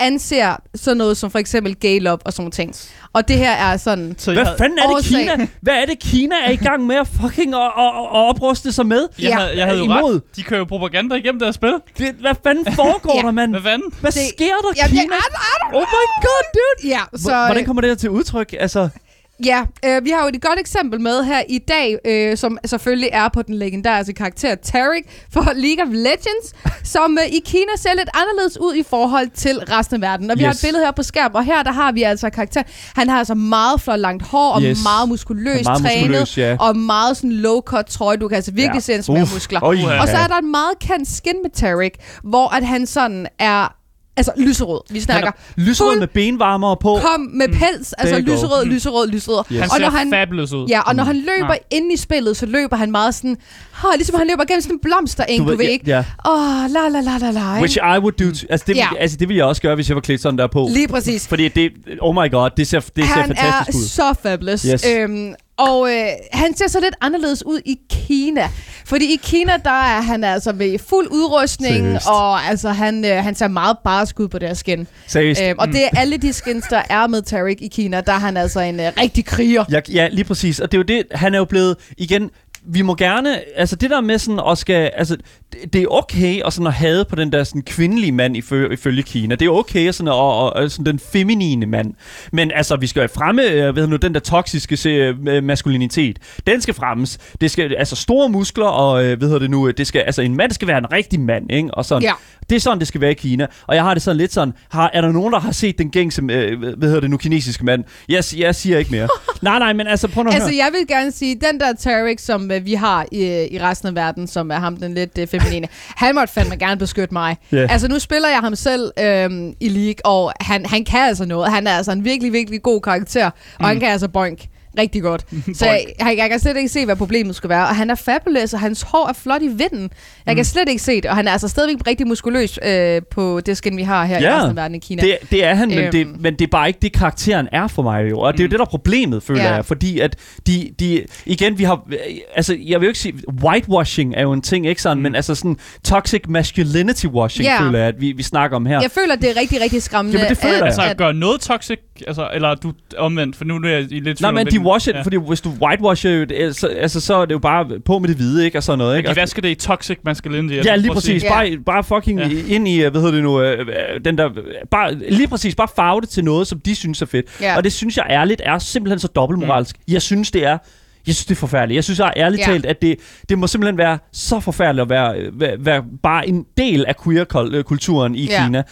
S4: anser sådan noget som for eksempel gay love og sådan nogle ting. Og det her er sådan...
S3: Så
S2: Hvad
S3: jeg,
S2: fanden er det,
S4: Årsag.
S2: Kina? Hvad er det, Kina er i gang med at fucking at, at, at opruste sig med?
S3: jeg,
S4: Ja.
S3: havde, jeg havde jo
S2: Imod.
S3: ret. De kører jo propaganda igennem deres spil.
S2: Det, hvad fanden foregår
S4: Ja.
S2: der, mand?
S3: Hvad fanden?
S2: Hvad
S4: Det-
S2: sker der,
S4: Jamen, jeg, I,
S2: Kina?
S4: I don't
S2: Oh my god, dude!
S4: Ja, så, øh,
S2: Hvor- Hvordan kommer det her til udtryk? Altså,
S4: ja øh, vi har jo et godt eksempel med her i dag, øh, som selvfølgelig er på den legendariske karakter Tarek fra League of
S2: [LAUGHS]
S4: Legends, som øh, i Kina ser lidt anderledes ud i forhold til resten af verden. Og vi yes. har
S2: Yes.
S4: et billede her på skærm, og her der har vi altså karakter. Han har altså meget flot langt hår og
S2: Yes.
S4: yes. meget muskuløs
S2: Han er meget
S4: trænet
S2: muskuløs, ja.
S4: og meget sådan low-cut trøje. Du kan altså virkelig
S2: Ja.
S4: ja. se hans mere
S2: Uff.
S4: muskler.
S2: Oj,
S3: Og
S4: Og så
S2: ja.
S4: er der en meget kendt skin med Tarek, hvor at han sådan er altså lyserød. Vi snakker
S2: lyserød med benvarmere på.
S4: kom med
S2: mm.
S4: pels, altså
S2: you go.
S4: lyserød, lyserød, lyserød.
S2: Mm. Yes.
S3: Han
S4: Og
S3: ser
S4: når han,
S3: fabulous ud.
S4: ja, og når han løber
S3: Nej.
S4: ind i spillet, så løber han meget sådan, oh, ligesom han løber gennem sådan en blomstereng, du,
S2: ved-
S4: du ved ikke?
S2: Ja, ja.
S4: Åh, la la la la la.
S2: Which I
S4: ikke?
S2: would do. T- altså, det,
S4: Ja.
S2: yeah. altså, det ville jeg også gøre, hvis jeg var klædt sådan der på.
S4: Lige præcis.
S2: Fordi det, oh my god, det ser, det ser
S4: han er
S2: fantastisk ud.
S4: så fabulous.
S2: Yes.
S4: Øhm, og øh, han ser så lidt anderledes ud i Kina. Fordi i Kina, der er han altså ved fuld udrustning,
S2: Seriøst.
S4: og altså, han, øh, han ser meget barsk ud på deres skin.
S2: Seriøst. Mm.
S4: Øhm, og det er alle de skins, der er med Tarek i Kina, der er han altså en øh, rigtig kriger.
S2: Ja, ja, lige præcis. Og det er jo det, han er jo blevet, igen, vi må gerne, altså det der med sådan at skal, altså det, det er okay at sådan at have på den der sådan kvindelige mand ifø- ifølge Kina. Det er okay sådan at, og, og, sådan den feminine mand. Men altså, vi skal jo fremme, øh, ved nu, den der toksiske se, øh, maskulinitet. Den skal fremmes. Det skal, altså store muskler og, øh, ved det nu, øh, det skal, altså en mand skal være en rigtig mand, ikke? Og sådan.
S4: Ja.
S2: Det er sådan, det skal være i Kina. Og jeg har det sådan lidt sådan, har, er der nogen, der har set den gængse, øh, hvad hedder det nu, kinesiske mand? Jeg, si- jeg siger ikke
S4: [LAUGHS]
S2: mere. nej, nej, men altså, [LAUGHS] prøv nu at
S4: Altså,
S2: høre.
S4: jeg vil gerne sige, den der Tarek, som øh, vi har i, i resten af verden, som er ham den lidt
S2: [LAUGHS]
S4: øh, feminine, han måtte fandme gerne beskytte mig.
S2: Ja.
S4: Altså, nu spiller jeg ham selv øhm, i League, og han, han kan altså noget. Han er altså en virkelig, virkelig god karakter, og
S2: Mm.
S4: han kan altså boink. Rigtig
S2: [LAUGHS]
S4: godt. Så jeg, jeg, jeg kan slet ikke se, hvad problemet skulle være. Og han er fabulous, og hans hår er flot i vinden. Jeg
S2: Mm.
S4: kan slet ikke se det. Og han er altså stadigvæk rigtig muskuløs øh, på det skin, vi har her
S2: Ja.
S4: i resten af verden i Kina.
S2: Det, det er han, men,
S4: Øhm. Mm.
S2: det, men det er bare ikke det, karakteren er for mig jo. Og det er jo det, der er problemet, føler
S4: Ja.
S2: jeg. Fordi at de, de... Igen, vi har... Altså, jeg vil jo ikke sige... Whitewashing er jo en ting, ikke sådan? Men altså sådan toxic masculinity washing,
S4: Mm. Ja.
S2: føler jeg, at vi, vi snakker om her.
S4: Jeg føler, det er rigtig, rigtig skræmmende.
S2: Jamen, det føler jeg.
S3: Altså,
S4: at,
S3: at gøre noget toxic, altså, eller du omvendt, for nu er jeg i lidt
S2: Nej,
S3: tvivl om,
S2: men de
S3: hvilken-
S2: washer, ja. fordi hvis du whitewasher, jo, det, er- så, altså, så er det jo bare på med det hvide, ikke? Og sådan noget, ikke?
S3: De
S2: Og-
S3: vasker det i toxic masculinity.
S2: Ja,
S3: eller
S2: lige
S3: altså, prøv at sige-
S2: præcis.
S4: sige.
S2: Bare, bare fucking
S3: Ja.
S2: ind i, hvad hedder det nu, øh, øh, den der, bare, lige præcis, bare farve det til noget, som de synes er fedt.
S4: Ja.
S2: Og det synes jeg ærligt er simpelthen så dobbeltmoralsk. Mm. Jeg synes, det er jeg synes, det er forfærdeligt. Jeg synes jeg ærligt
S4: Ja.
S2: talt, at det, det må simpelthen være så forfærdeligt at være, øh, være, være bare en del af queer-kulturen i
S4: Ja.
S2: Kina.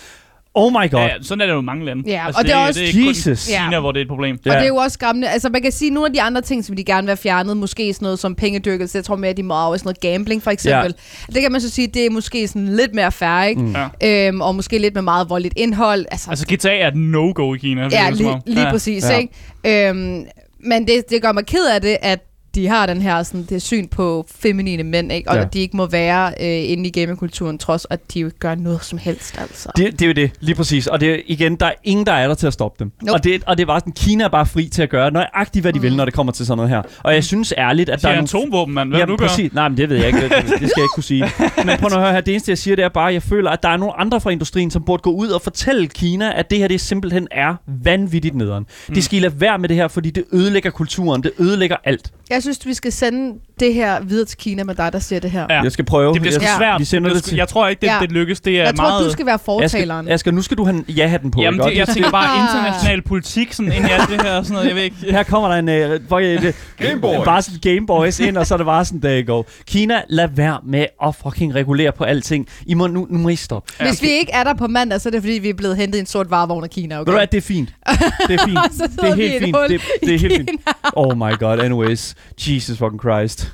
S2: Oh my god.
S3: Ja, ja, sådan er det jo i mange lande. Altså,
S4: Ja, og det er også-
S3: det er ikke
S2: Jesus.
S3: kun Kina,
S4: Ja.
S3: hvor det er et problem.
S4: Og det er jo også skræmmende. Altså, man kan sige, at nogle af de andre ting, som de gerne vil have fjernet, måske sådan noget som pengedyrkelse, jeg tror mere, de må over sådan noget gambling, for eksempel. Ja. Det kan man så sige, det er måske sådan lidt mere færre, ikke? Mm.
S3: Ja.
S4: Øhm, og måske lidt med meget voldeligt indhold. Altså,
S3: Altså, GTA er et no-go i Kina. virker
S4: ja,
S3: Altså, det som
S4: lige,
S3: om.
S4: lige
S3: Ja.
S4: præcis,
S2: Ja.
S4: ja. ikke? Øhm, men det, det gør mig ked af det, at de har den her sådan, det syn på feminine mænd, ikke? Og
S2: Ja.
S4: ja. at de ikke må være øh, inde i gamekulturen, trods at de jo ikke gør noget som helst, altså.
S2: Det, det er jo det, lige præcis. Og det er igen, der er ingen, der er der til at stoppe dem.
S4: Nope.
S2: Og, det, og det er bare sådan, Kina er bare fri til at gøre nøjagtigt, hvad de mm. vil, når det kommer til sådan noget her. Og jeg synes ærligt, at
S3: De
S2: der er
S3: har
S2: nogle
S3: atomvåben, mand. Hvad vil
S2: Jamen,
S3: du gøre?
S2: præcis. Nej, men det ved jeg ikke. Det, det skal jeg ikke kunne sige. Men prøv nu at høre her. Det eneste, jeg siger, det er bare, at jeg føler, at der er nogle andre fra industrien, som burde gå ud og fortælle Kina, at det her det simpelthen er vanvittigt nederen. Mm. De skal I lade være med det her, fordi det ødelægger kulturen. Det ødelægger alt.
S4: Jeg synes, vi skal sende det her videre til Kina med dig, der siger det her.
S3: Ja.
S2: Jeg skal prøve.
S3: Det bliver sgu
S2: jeg,
S4: Ja.
S3: svært.
S2: Vi sender
S3: Det
S2: det
S3: sgu-
S2: til-
S3: Jeg tror ikke, det,
S4: Ja.
S3: det lykkes. Det er
S4: Jeg
S3: meget...
S4: tror, du skal være fortaleren.
S2: Asger, Asger, nu skal du have en ja-hatten på.
S3: Jamen,
S2: ikke?
S3: det, jeg
S2: Det-
S3: tænker bare
S4: Ah.
S3: international politik sådan, ind i alt det her og sådan noget. Jeg ved ikke.
S2: Her kommer der en, øh, hvor, øh, det-
S1: Gameboys.
S2: bare sådan Game Boys ind, og så er det bare sådan, der i går. Kina, lad være med at fucking regulere på alting. I må, nu, nu må I stoppe.
S4: Ja. Hvis vi ikke er der på mandag, så er det fordi, vi er blevet hentet i en sort varevogn af Kina. Okay?
S2: Ved du hvad, det er fint.
S4: [LAUGHS]
S2: Det er fint.
S4: Så sidder
S2: det er
S4: vi i
S2: helt
S4: et
S2: fint.
S4: hul
S2: Det, det er helt fint. Oh my god, anyways. Jesus fucking Christ.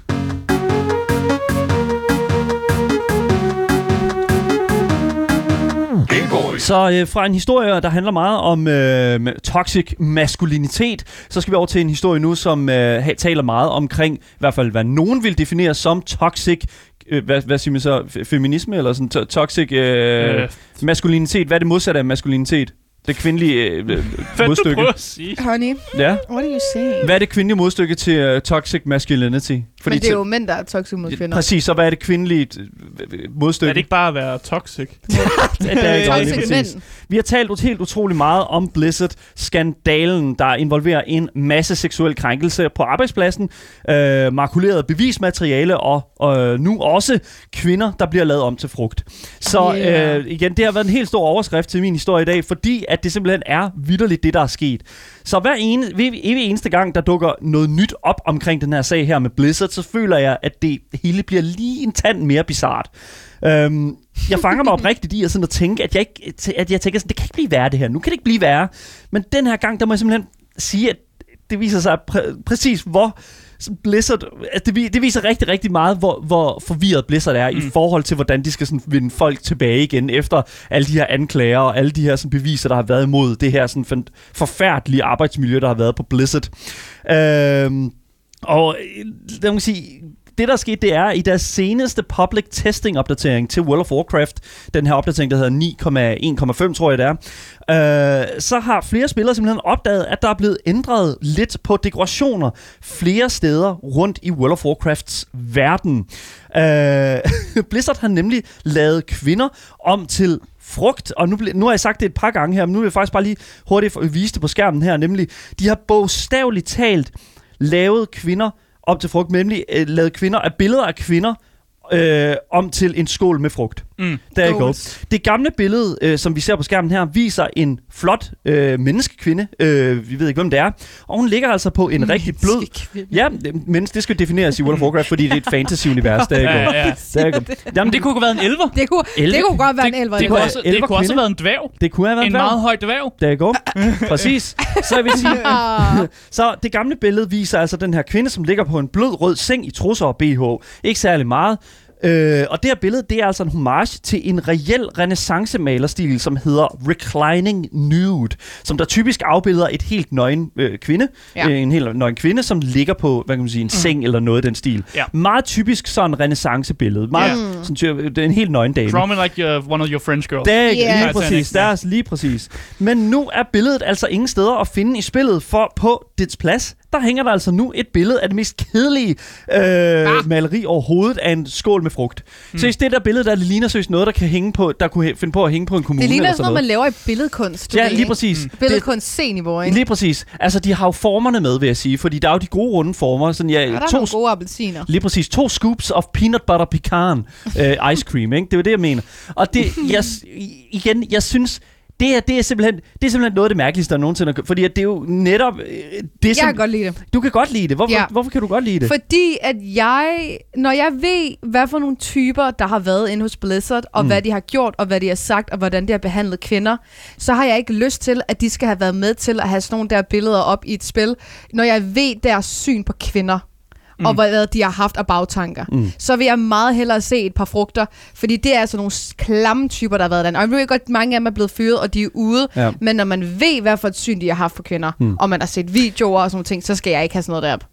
S1: Game Boys.
S2: Så øh, fra en historie, der handler meget om øh, toxic maskulinitet, så skal vi over til en historie nu, som øh, ha- taler meget omkring, i hvert fald hvad nogen vil definere som toxic, øh, hvad, hvad siger man så, F- feminisme eller sådan, to- toxic øh, øh.
S3: Øh.
S2: maskulinitet. Hvad er det modsatte af maskulinitet? Det kvindelige øh, øh,
S3: Hvad du
S2: modstykke.
S3: prøver at sige?
S4: Honey,
S2: Ja.
S1: What are you saying?
S2: Hvad er det kvindelige modstykke til øh, toxic masculinity?
S4: Fordi men det er
S2: til-
S4: jo mænd, der er toxic mod kvinder.
S2: Præcis, så hvad er det kvindelige øh, modstykke?
S3: Er det ikke bare at være toxic?
S2: det er ikke
S4: Toxic
S2: lige
S4: mænd.
S2: præcis. Vi har talt ut- helt utrolig meget om Blizzard-skandalen, der involverer en masse seksuel krænkelse på arbejdspladsen, øh, makuleret bevismateriale og øh, nu også kvinder, der bliver lavet om til frugt. Så
S4: Yeah.
S2: øh, igen, det har været en helt stor overskrift til min historie i dag, fordi at det simpelthen er vidderligt det, der er sket. Så hver ene, hver evig eneste gang, der dukker noget nyt op omkring den her sag her med Blizzard, så føler jeg, at det hele bliver lige en tand mere bizart. Øhm, jeg fanger mig oprigtigt i at, sådan at tænke, at jeg, ikke, at jeg tænker, sådan, det kan ikke blive værre det her. Nu kan det ikke blive værre. Men den her gang, der må jeg simpelthen sige, at det viser sig præ- præcis, hvor Blizzard, altså det, vi- det viser rigtig, rigtig meget, hvor, hvor forvirret Blizzard er mm. i forhold til, hvordan de skal sådan vinde folk tilbage igen efter alle de her anklager og alle de her sådan, beviser, der har været imod det her sådan, fan- forfærdelige arbejdsmiljø, der har været på Blizzard. Øhm, og øh, lad mig sige, det der skete, det er i deres seneste public testing opdatering til World of Warcraft, den her opdatering, der hedder 9,1,5, tror jeg det er, øh, så har flere spillere simpelthen opdaget, at der er blevet ændret lidt på dekorationer flere steder rundt i World of Warcrafts verden. Øh, [LAUGHS] Blizzard har nemlig lavet kvinder om til frugt, og nu, ble- nu har jeg sagt det et par gange her, men nu vil jeg faktisk bare lige hurtigt for- vise det på skærmen her, nemlig, de har bogstaveligt talt lavet kvinder om til frugt, nemlig øh, lavet kvinder af billeder af kvinder øh, om til en skål med frugt.
S3: Mm.
S2: Der you go.
S4: Goals.
S2: Det gamle billede, øh, som vi ser på skærmen her, viser en flot øh, menneskekvinde, øh, vi ved ikke, hvem det er, og hun ligger altså på en rigtig blød... Ja, det- mens det skal defineres i World of Warcraft, fordi det er et fantasy-univers. Der
S3: Ja,
S2: er
S3: ja.
S2: Der er Jamen,
S3: Men det kunne have været en elver.
S4: Det kunne, det
S2: Elve-
S4: kunne godt være en elver.
S3: Det kunne,
S2: være
S3: også, det
S2: elver
S3: kunne også
S2: kvinde.
S3: have været en dværg.
S2: det kunne have været
S3: En
S2: værd.
S3: meget høj dværg.
S2: Der er go. [LAUGHS] Præcis. Så jeg vil sige,
S4: Ah.
S2: så det gamle billede viser altså den her kvinde, som ligger på en blød rød seng i trusser og BH. Ikke særlig meget. Øh, og det her billede, det er altså en homage til en reel renaissancemalerstil, som hedder Reclining Nude, som der typisk afbilder et helt nøgen øh, kvinde,
S4: Ja.
S2: ja. øh, en helt nøgen kvinde, som ligger på, hvad kan man sige, en mm. seng eller noget af den stil.
S3: Ja.
S2: Meget typisk sådan renaissancebillede. Meget, yeah. sådan, ty- det er en helt nøgen dame.
S3: Draw me like uh, one of your French girls.
S2: Det er ikke
S4: Ja.
S2: lige præcis.
S3: Titanic, ja.
S2: Deres, lige præcis. Men nu er billedet altså ingen steder at finde i spillet, for på dets plads, der hænger der altså nu et billede af det mest kedelige øh,
S4: Ah.
S2: maleri overhovedet af en skål med frugt.
S4: Hmm.
S2: Mm. Så det der billede, der det ligner seriøst noget, der kan hænge på, der kunne hæ- finde på at hænge på en kommune
S4: Det ligner
S2: eller
S4: sådan
S2: sådan
S4: noget, man
S2: noget.
S4: laver i billedkunst. du
S2: Ja,
S4: ved,
S2: lige
S4: ikke?
S2: præcis. Det-
S4: Billedkunst C-niveau, ikke?
S2: Lige præcis. Altså, de har jo formerne med, vil jeg sige, fordi der er jo de gode runde former. Sådan, ja,
S4: Ja, der er
S2: to
S4: nogle gode appelsiner.
S2: Lige præcis. To scoops of peanut butter pecan øh, ice cream, ikke? Det er jo det, jeg mener. Og det, jeg, s- i- igen, jeg synes, det her, det er simpelthen, det er simpelthen noget af det mærkeligste, der nogensinde er kø- Fordi at det er jo netop... Øh, det er
S4: Jeg
S2: som,
S4: kan godt lide det.
S2: Du kan godt lide det. Hvorfor,
S4: Ja.
S2: ja. hvorfor kan du godt lide det?
S4: Fordi at jeg, når jeg ved, hvad for nogle typer, der har været inde hos Blizzard, og mm. hvad de har gjort, og hvad de har sagt, og hvordan de har behandlet kvinder, så har jeg ikke lyst til, at de skal have været med til at have sådan nogle der billeder op i et spil, når jeg ved deres syn på kvinder. Mm. og hvad hvad de har haft af bagtanker, mm. så vil jeg meget hellere se et par frugter, fordi det er altså nogle s- klamme typer, der har været derinde. Og jeg ved godt, at mange af dem er blevet fyret, og de er ude, ja.
S2: Ja.
S4: men når man ved, hvad for et syn de har haft for kvinder, mm. og man har set videoer og sådan nogle ting, så skal jeg ikke have sådan noget derop.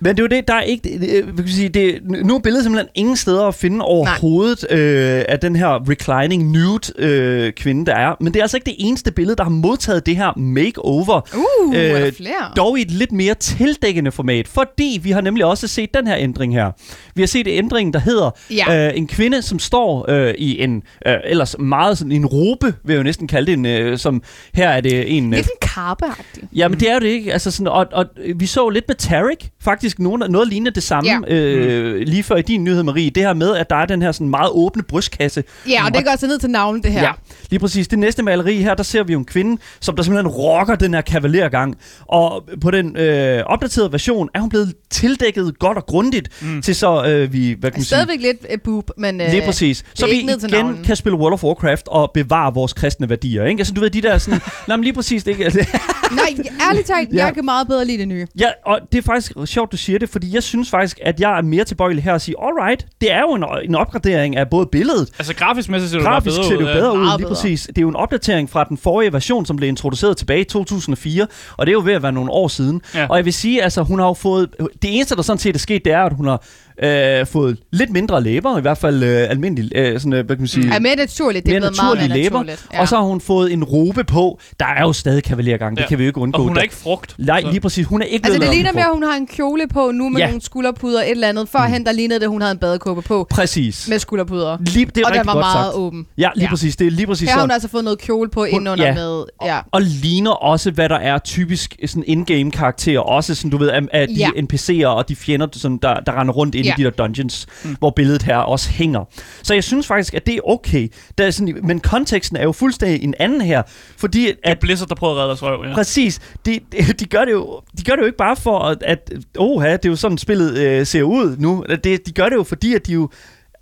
S2: Men det er jo det, der er ikke... Øh, hvad kan vi sige, det, nu er billedet simpelthen ingen steder at finde overhovedet øh, af den her reclining nude øh, kvinde, der er. Men det er altså ikke det eneste billede, der har modtaget det her makeover.
S4: Uh, øh, er der
S2: Øh,
S4: flere?
S2: Dog i et lidt mere tildækkende format, fordi vi har nemlig også set den her ændring her. Vi har set ændringen, der hedder
S4: Ja.
S2: ja. øh, en kvinde, som står øh, i en øh, ellers meget sådan en robe, vil jeg jo næsten kalde det, en, øh, som her er det en... Øh,
S4: Lidt en karpeagtig.
S2: Ja, men det er jo det ikke. Altså sådan, og, og vi så lidt med Tarek, faktisk nogen, noget lignende det samme
S4: Ja.
S2: ja. øh, lige før i din nyhed, Marie. Det her med, at der er den her sådan meget åbne brystkasse,
S4: Ja, og det går altså ned til navnet, det her.
S2: Ja, lige præcis. Det næste maleri her, der ser vi jo en kvinde, som der simpelthen rocker den her kavalergang. Og på den øh, opdaterede version er hun blevet tildækket godt og grundigt mm. til så øh, vi, hvad kan man sige,
S4: Stadigvæk lidt øh, boob, men... Øh,
S2: Lige præcis.
S4: er
S2: Så vi
S4: ikke ned til
S2: igen
S4: navlen. [LAUGHS]
S2: kan spille World of Warcraft og bevare vores kristne værdier. Ikke? Altså, du ved, de der sådan... Nå, men lige præcis, det ikke? Altså,
S4: [LAUGHS] Nej, ærligt talt,
S2: Ja.
S4: jeg kan meget bedre lide det nye.
S2: Ja, og det er faktisk sjovt, du siger det, fordi jeg synes faktisk, at jeg er mere tilbøjelig her at sige, alright, det er jo en, en opgradering af både billedet,
S3: Altså grafisk mæssigt ser det bare
S2: grafisk
S3: bedre
S2: ser det
S3: ud.
S2: jo
S3: ja.
S2: bedre ud,
S4: Meget
S2: lige
S4: bedre.
S2: præcis. Det er jo en opdatering fra den forrige version, som blev introduceret tilbage i 2004, og det er jo ved at være nogle år siden.
S3: Ja.
S2: Og jeg vil sige, altså hun har jo fået, det eneste der sådan set er sket, det er, at hun har øh, fået lidt mindre læber, i hvert fald øh, almindelig, øh, sådan, øh, hvad kan man sige,
S4: Ja, mere naturligt. Det er
S2: mere
S4: blevet meget
S2: naturlige
S4: mere
S2: læber,
S4: naturligt.
S2: og så har hun fået en robe på. Der er jo stadig kavalergang, det
S3: Ja.
S2: kan vi jo ikke
S3: Og
S2: undgå.
S3: hun er
S2: Der-
S3: ikke frugt.
S2: Nej,
S3: så-
S2: lige præcis. Hun er ikke
S4: Altså,
S2: blevet
S4: det
S2: lavet
S4: ligner
S2: som
S4: mere,
S2: frugt.
S4: at hun har en kjole på nu med
S2: Ja.
S4: ja. nogle skulderpuder et eller andet. Førhen, der lignede det, at hun havde en badekåbe på
S2: Præcis.
S4: med skulderpuder.
S2: Lige, det er
S4: og
S2: rigtig
S4: den var
S2: godt
S4: meget
S2: sagt.
S4: åben.
S2: Ja, lige ja.
S4: Ja.
S2: præcis. Det er lige præcis
S4: Her har hun
S2: sådan.
S4: altså fået noget kjole på indenunder
S2: ja.
S4: med. Ja.
S2: Og ligner også, hvad der er typisk sådan in-game karakterer. Også sådan, du ved, af, af de ja.
S4: Ja.
S2: NPC'er og de fjender, sådan, der, der render rundt inde ja.
S4: Ja.
S2: i de der dungeons, mm. hvor billedet her også hænger. Så jeg synes faktisk, at det er okay. Der er sådan, men konteksten er jo fuldstændig en anden her. Fordi
S3: Det
S2: at
S3: er Blizzard, der prøver at redde deres røv, ja.
S2: Præcis. De, [LAUGHS] de, de, gør det jo, de gør det jo ikke bare for, at, at oha, det er jo sådan, spillet øh, ser ud nu. Det, de gør det jo, fordi at de jo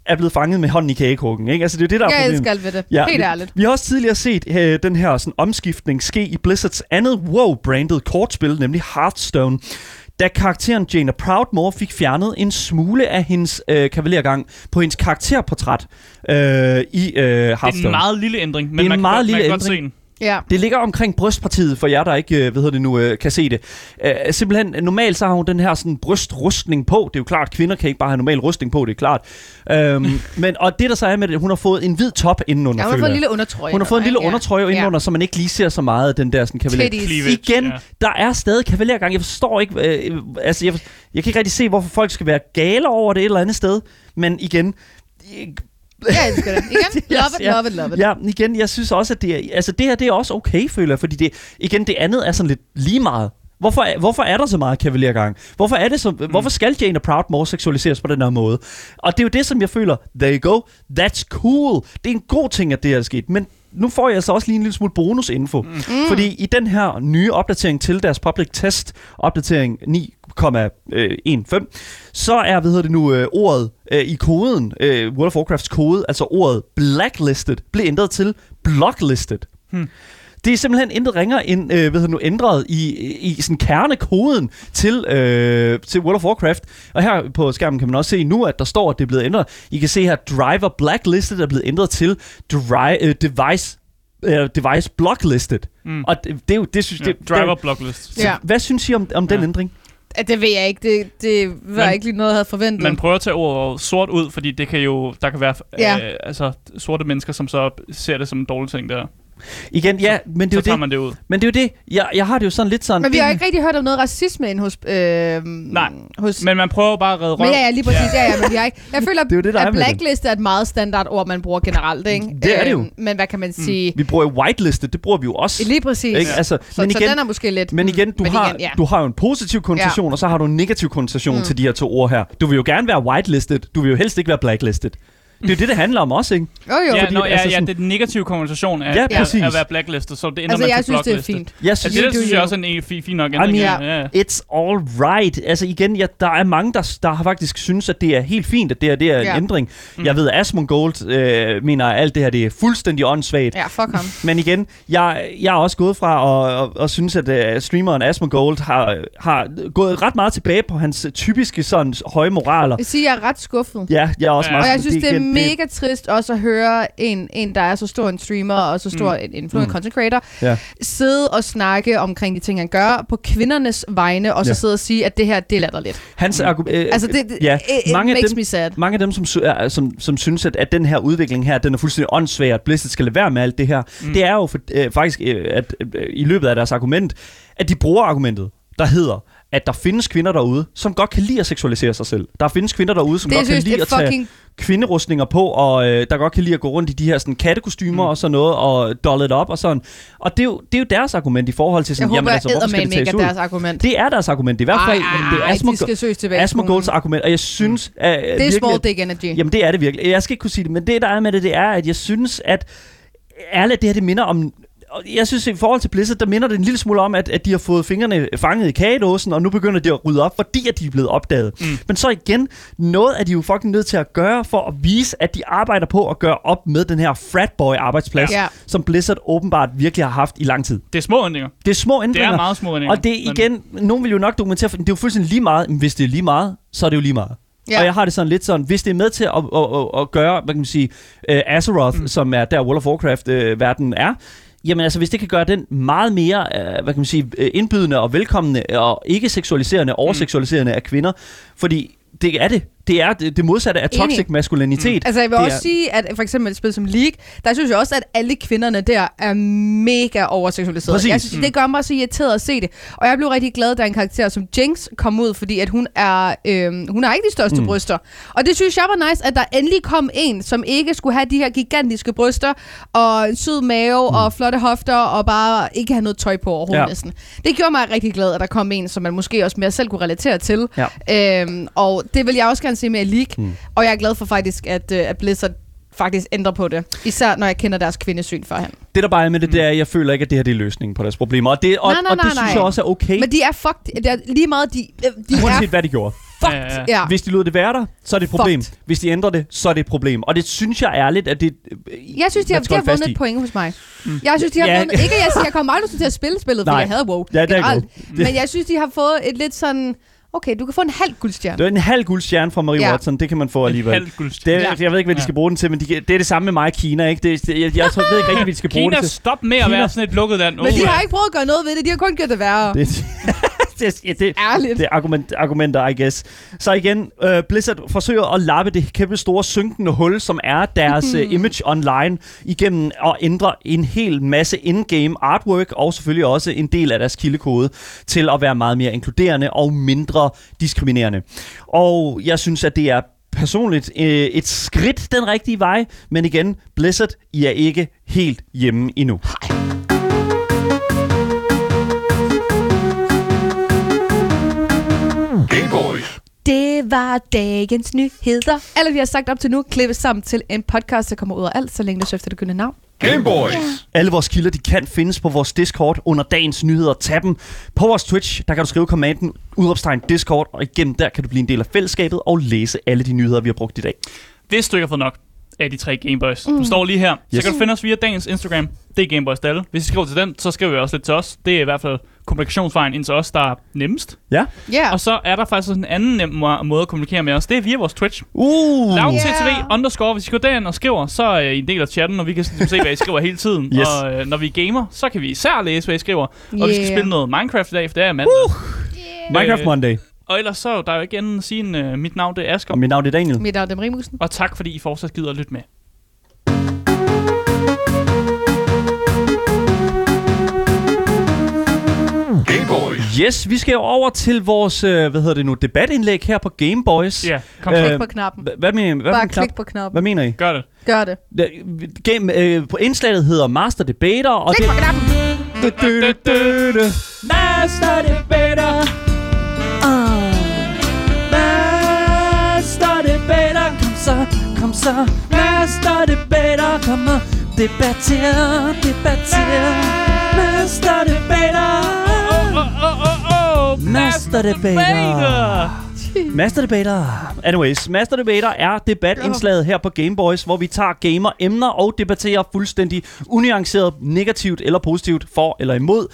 S2: er blevet fanget med hånden i kagekrukken. Ikke? Altså, det er jo det, der er
S4: Jeg
S2: problemet.
S4: elsker alt ved det.
S2: Ja,
S4: Helt
S2: vi-
S4: ærligt.
S2: Vi har også tidligere set øh, den her sådan, omskiftning ske i Blizzards andet WoW-branded kortspil, nemlig Hearthstone. Da karakteren Jaina Proudmore fik fjernet en smule af hendes øh, kavalergang på hendes karakterportræt øh, i øh, Hearthstone.
S3: Det er en meget lille ændring, men
S2: Det er en
S3: man, kan
S2: meget
S3: godt,
S2: lille
S3: man kan godt se
S2: ændring.
S3: den.
S4: Ja.
S2: Det ligger omkring brystpartiet, for jer, der ikke øh, hvad hedder det nu, øh, kan se det. Øh, simpelthen, normalt så har hun den her sådan, brystrustning på. Det er jo klart, kvinder kan ikke bare have normal rustning på, det er klart. Øhm, [LAUGHS] men, og det, der så er med det, hun har fået en hvid top indenunder,
S4: ja, hun har
S2: føler
S4: fået en
S2: jeg.
S4: lille undertrøje.
S2: hun har fået en lille
S4: Ja.
S2: undertrøje indenunder, så man ikke lige ser så meget af den der sådan, kavaler.
S4: Titties.
S3: Cleavage,
S2: Igen,
S3: ja.
S2: der er stadig kavalergang. Jeg forstår ikke, øh, øh, altså jeg, jeg kan ikke rigtig se, hvorfor folk skal være gale over det et eller andet sted. Men igen, øh,
S4: Ja. Jeg elsker det.
S2: [LAUGHS]
S4: Igen, [LAUGHS] love it,
S2: Ja.
S4: love it, love it.
S2: Ja, men igen, jeg synes også, at det, er, altså det her det er også okay, føler jeg, fordi det, igen, det andet er sådan lidt lige meget. Hvorfor, er- hvorfor er der så meget kavalergang? Hvorfor, er det så, mm. hvorfor skal Jane Proudmore seksualiseres på den her måde? Og det er jo det, som jeg føler, there you go, that's cool. Det er en god ting, at det her er sket, men nu får jeg altså også lige en lille smule bonusinfo. Mm. Fordi i den her nye opdatering til deres public test, opdatering 9,15, øh, så er, hvad hedder det nu, øh, ordet øh, i koden, øh, World of Warcrafts kode, altså ordet blacklisted, blev ændret til blocklisted.
S3: Hmm.
S2: Det er simpelthen intet ringer end, øh, hvad hedder det nu, ændret i, i, i sådan kernekoden til, øh, til World of Warcraft. Og her på skærmen kan man også se nu, at der står, at det er blevet ændret. I kan se her, driver blacklisted er blevet ændret til dri- øh, device, øh, device blocklisted.
S3: Mm.
S2: Og det, det, er jo- det synes
S3: Ja.
S2: jeg... Det,
S3: Driver
S2: det,
S3: blocklist.
S2: så,
S4: Ja.
S2: Hvad synes I om, om den
S3: Ja.
S2: ændring?
S4: Ja, Det ved jeg ikke. Det, det var
S3: Man-
S4: ikke lige noget, jeg havde forventet.
S3: Man prøver at tage ordet sort ud, fordi det kan jo, der kan være
S4: Ja.
S3: øh, altså, sorte mennesker, som så ser det som en dårlig ting der.
S2: Igen, ja, men
S3: så
S2: det er
S3: tager
S2: jo det.
S3: man Mm. det ud.
S2: Men det er jo det. Jeg, jeg har det jo sådan lidt sådan...
S4: Men vi har
S2: det-
S4: ikke rigtig hørt om noget racisme ind hos... Øh,
S3: Nej,
S4: hos
S3: Men man prøver jo bare at redde
S4: men
S3: røv.
S4: ja, ja, lige præcis. Ja, ja, men vi har ikke. Jeg føler,
S2: Det er jo det, der er
S4: at
S2: med det.
S4: blacklist er et meget standard ord, man bruger generelt. Ikke?
S2: Det er det jo. Mm.
S4: Øhm, Men hvad kan man sige?
S2: Vi bruger jo whitelisted, det bruger vi jo også.
S4: Lige præcis.
S2: Ikke? Altså,
S4: Så,
S2: men,
S4: igen, så
S2: igen,
S4: den er måske lidt...
S2: men
S4: mm,
S2: igen, du, har,
S4: igen, ja.
S2: du har jo en positiv konnotation, ja. og så har du en negativ konnotation mm. til de her to ord her. Du vil jo gerne være whitelisted, du vil jo helst ikke være blacklisted. Det er jo det, det handler om også,
S3: [LAUGHS]
S2: ikke?
S4: Jo, jo.
S3: Ja,
S2: fordi,
S3: nå, ja,
S2: altså
S3: ja,
S2: sådan-
S3: det er den negative konversation af,
S2: Ja,
S3: ja,
S2: præcis.
S3: af, at være blacklistet, så det ender
S4: altså,
S3: man
S4: jeg
S3: til
S4: synes, det er
S3: blocklistet.
S4: fint.
S2: Jeg
S3: Altså,
S2: synes,
S3: det
S4: You
S3: der
S4: do
S3: synes jeg
S4: you.
S3: også er en e- fi- fin nok
S2: Jamen,
S3: ændring.
S2: ja.
S3: ja. ja, ja.
S2: It's all right. Altså igen, ja, der er mange, der, der har faktisk synes, at det er helt fint, at det her det er en
S4: Ja.
S2: ændring.
S3: Mm.
S2: Jeg ved, at Asmongold øh, mener, at alt det her det er fuldstændig åndssvagt.
S4: Ja, fuck ham.
S2: Men igen, jeg, jeg er også gået fra og, og, og synes, at uh, streameren Asmongold har, har gået ret meget tilbage på hans øh, typiske sådan, høje moraler.
S4: Jeg vil sige, jeg er ret skuffet.
S2: Ja, jeg er også
S3: Ja.
S2: meget
S4: Og jeg
S2: sådan,
S4: synes, det er
S2: igen-
S4: mega trist også at høre en, en der er så stor en streamer og så stor en influencer
S2: Mm.
S4: content creator,
S2: Ja.
S4: sidde og snakke omkring de ting, han gør på kvindernes vegne, og så
S2: Ja.
S4: sidde og sige, at det her, det lader lidt.
S2: Hans argument... Øh,
S4: Altså, det, det
S2: ja,
S4: yeah. it, it
S2: mange af
S4: makes
S2: dem-
S4: me sad.
S2: Mange af dem, som, sy- er- som, som synes, at, at den her udvikling her, den er fuldstændig åndssvag, at Blizzard skal lade være med alt det her, mm. det er jo for, øh, faktisk, øh, at øh, i løbet af deres argument, at de bruger argumentet, der hedder, at der findes kvinder derude, som godt kan lide at seksualisere sig selv. Der findes kvinder derude, som
S4: Det er
S2: godt kan
S4: seriøst
S2: lide
S4: et
S2: at tage
S4: fucking...
S2: kvinderustninger på, og øh, der godt kan lide at gå rundt i de her sådan, kattekostymer mm. og sådan noget, og dolle det op og sådan. Og det er, jo, det er jo deres argument i forhold til sådan,
S4: Jeg håber,
S2: jamen altså,
S4: jeg
S2: hvorfor skal
S4: ædermame
S2: det
S4: ikke
S2: tages
S4: er
S2: ud?
S4: deres argument.
S2: Det er deres argument, det er i hvert fald det er
S4: Ej, de
S2: Asmog-
S4: skal søges tilbage. i
S2: Asmogolds
S4: skolen.
S2: argument, og jeg synes... Mm. At,
S4: Det er small dick energy.
S2: Jamen det er det virkelig. Jeg skal ikke kunne sige det, men det der er med det, det er, at jeg synes, at ærligt, det her det minder om og jeg synes, i forhold til Blizzard, der minder det en lille smule om, at, at de har fået fingrene fanget i kagedåsen, og nu begynder de at rydde op, fordi at de er blevet opdaget. Mm. Men så igen, noget er de jo fucking nødt til at gøre for at vise, at de arbejder på at gøre op med den her fratboy-arbejdsplads,
S4: Ja.
S2: ja. som Blizzard åbenbart virkelig har haft i lang tid.
S3: Det er små ændringer.
S2: Det er små
S3: Det
S2: ændringer.
S3: er meget små ændringer.
S2: Og det er
S3: men-
S2: igen, nogen vil jo nok dokumentere, for det er jo fuldstændig lige meget, men hvis det er lige meget, så er det jo lige meget.
S4: Ja.
S2: Ja. Og jeg har det sådan lidt sådan, hvis det er med til at, at, at, at gøre, hvad kan man sige, uh, Azeroth, mm. som er der World of Warcraft-verden er, jamen altså, hvis det kan gøre den meget mere, uh, hvad kan man sige, øh, indbydende og velkommende og ikke seksualiserende,
S4: Mm.
S2: overseksualiserende af kvinder, fordi det er det. Det er det, det modsatte af
S4: Enig.
S2: toxic maskulinitet.
S4: Altså, jeg vil
S2: Det
S4: også
S2: er-
S4: sige, at for eksempel et spil som League, der synes jeg også, at alle kvinderne der er mega overseksualiserede.
S2: Præcis.
S4: Jeg synes, det gør mig så irriteret at se det. Og jeg blev rigtig glad, da en karakter som Jinx kom ud, fordi at hun er øhm, hun har ikke de største mm. bryster. Og det synes jeg var nice, at der endelig kom en, som ikke skulle have de her gigantiske bryster, og en sød mave, mm. og flotte hofter, og bare ikke have noget tøj på overhovedet ja.
S2: Ja.
S4: næsten. Det gjorde mig rigtig glad, at der kom en, som man måske også mere selv kunne relatere til.
S2: Ja.
S4: Øhm, og det vil jeg også gerne se mere League. Mm. Og jeg er glad for faktisk, at, øh, at Blizzard faktisk ændrer på det. Især når jeg kender deres kvindesyn førhen.
S2: Det, der bare er med det, det er, at jeg føler ikke, at det her det er løsningen på deres problemer. Og det, og,
S4: Mm. Nej, nej,
S2: og det
S4: nej,
S2: synes
S4: nej.
S2: jeg også er okay,
S4: Men de er fucked. Det er lige meget, de, øh, de er
S2: uanset hvad de gjorde.
S4: fucked.
S3: Ja, ja,
S4: Ja.
S2: Hvis de lod det være der, så er det et problem.
S4: Fucked.
S2: Hvis de ændrer det, så er det et problem. Og det synes jeg ærligt, at det... øh,
S4: Jeg synes, de har,
S2: man skal
S4: de har
S2: holde fast
S4: vundet
S2: i.
S4: et point hos mig. Mm. Jeg synes, de har
S2: Ja.
S4: vundet... Ikke, jeg siger, jeg kommer aldrig til at spille spillet, fordi
S2: Nej.
S4: jeg havde WoW.
S2: Ja, det er
S4: generelt.
S2: godt. Det-
S4: Men jeg synes, de har fået et lidt sådan... Okay, du kan få en halv guldstjerne.
S2: Det er en halv guldstjerne fra Marie
S4: Ja.
S2: ja. Watson, det kan man få alligevel.
S3: En halv guldstjerne.
S2: det,
S4: Ja.
S2: Jeg ved ikke, hvad de skal bruge den til, men de, kan- det er det samme med mig og Kina, ikke? Det, det, jeg, jeg tror, jeg ved ikke rigtig, hvad de skal bruge
S3: Kina,
S2: det til.
S3: stop med at
S2: Kina-
S3: være sådan et lukket land.
S4: Men
S3: Oh,
S4: de
S3: ja.
S4: har ikke prøvet at gøre noget ved det. De har kun gjort det værre. Det.
S2: Det, [LAUGHS] det, ja, det,
S4: Ærligt.
S2: det er argument, argumenter, I guess. Så igen, øh, Blizzard forsøger at lappe det kæmpe store synkende hul, som er deres øh, image online, igennem at ændre en hel masse in-game artwork, og selvfølgelig også en del af deres kildekode, til at være meget mere inkluderende og mindre diskriminerende. Og jeg synes, at det er personligt øh, et skridt den rigtige vej, men igen, Blizzard, I er ikke helt hjemme endnu.
S4: det var dagens nyheder. Alle, vi har sagt op til nu, klippes sammen til en podcast, der kommer ud af alt, så længe det søfter det gyldne navn.
S1: Game Boys.
S2: Alle vores kilder, de kan findes på vores Discord under dagens nyheder. Tag dem. På vores Twitch, der kan du skrive kommanden udopstegn Discord, og igennem der kan du blive en del af fællesskabet og læse alle de nyheder, vi har brugt i dag.
S3: Hvis du ikke har fået nok af de tre Gameboys, mm. du står lige her, yes. så
S2: Yes.
S3: kan du finde os via dagens Instagram. Det er Gameboys Dalle. Hvis I skriver til den, så skriver I også lidt til os. Det er i hvert fald kommunikationsvejen ind til os, der er nemmest.
S2: Ja?
S4: Ja.
S3: Og så er der faktisk også en anden nem må- måde at kommunikere med os. Det er via vores Twitch.
S2: Uh!
S3: Lav
S4: Yeah.
S3: TTV underscore, hvis I går derind og skriver, så er I en del af chatten, og vi kan ligesom se, hvad I skriver hele tiden.
S2: [LAUGHS] Yes.
S3: Og øh, når vi gamer, så kan vi især læse, hvad I skriver. Og vi skal
S4: Yeah.
S3: spille noget Minecraft i dag, for det er mandag. Uh.
S2: Minecraft Monday. Og
S3: Og ellers så er der jo ikke andet end at sige, end, øh, mit navn det er Asger.
S2: mit navn er Daniel.
S4: Mit navn er Rimusen.
S3: Og tak, fordi I fortsat gider at lytte med.
S1: Game Boys.
S2: Yes, vi skal jo over til vores, øh, hvad hedder det nu, debatindlæg her på Game Boys.
S3: Ja, kom
S2: Øh,
S3: så.
S4: Klik på knappen.
S2: Hva- Hvad mener I? Hvad, for
S4: Bare
S2: en knap?
S4: klik på knappen.
S2: hvad mener I?
S3: Gør det.
S4: Gør det.
S2: Ja, Game, øh, på indslaget hedder Master Debater, og
S4: Klik
S2: det...
S4: på knappen.
S2: Du, du, du, du, du.
S3: Master Debater.
S2: Ah. Master debater, kom så, kom så. Master debater, kom og debatter, debatter. Master debater.
S3: Åh, åh, åh, åh.
S2: Master Debater. Master Debater. Anyways, Master Debater er debatindslaget her på Game Boys, hvor vi tager gamer-emner og debatterer fuldstændig unuanceret, negativt eller positivt, for eller imod.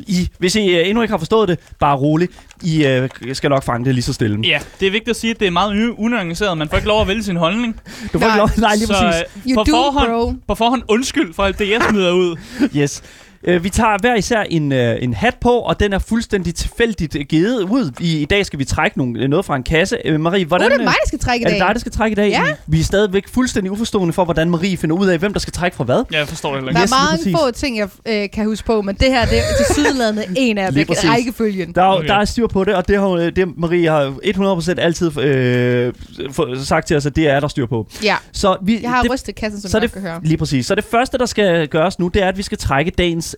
S2: I, hvis I øh, endnu ikke har forstået det, bare rolig. I øh, skal nok fange det lige så stille.
S3: Ja, det er vigtigt at sige, at det er meget u- unuanceret. Man får ikke lov at vælge sin holdning.
S2: Du får
S4: Nej.
S2: ikke lov. Nej, lige
S3: så,
S2: præcis.
S3: øh,
S4: You
S3: på,
S4: do,
S3: forhånd,
S4: bro.
S3: på forhånd undskyld for alt det, jeg smider ud.
S2: Yes. Øh, Vi tager hver især en, øh, en hat på, og den er fuldstændig tilfældigt øh, givet ud. I, I dag skal vi trække nogle, øh, noget fra en kasse. Øh, Marie,
S4: Uh,
S2: hvordan...
S4: det er
S2: øh,
S4: mig, der skal trække i
S2: er det
S4: dag.
S2: dig, der skal trække i dag?
S4: Ja.
S2: Vi er stadigvæk fuldstændig uforstående for, hvordan Marie finder ud af, hvem der skal trække fra hvad.
S3: Ja, jeg forstår det heller
S4: Der
S3: ikke.
S4: er
S2: Yes, lige
S4: mange
S2: præcis.
S4: få ting, jeg øh, kan huske på, men det her det er
S2: [LAUGHS]
S4: til sideladende en af
S2: Lige
S4: dem.
S2: præcis.
S4: Rækkefølgen.
S2: Der er,
S3: Okay.
S2: okay. der er styr på det, og det har øh, det, Marie har 100% altid øh, for, sagt til os, at det er der styr på.
S4: Ja.
S2: Så vi,
S4: Jeg har
S2: det,
S4: rystet kassen, som
S2: så
S4: du
S2: det,
S4: nok kan høre.
S2: Lige præcis. Så det første, der skal gøres nu, det er, at vi skal trække dagens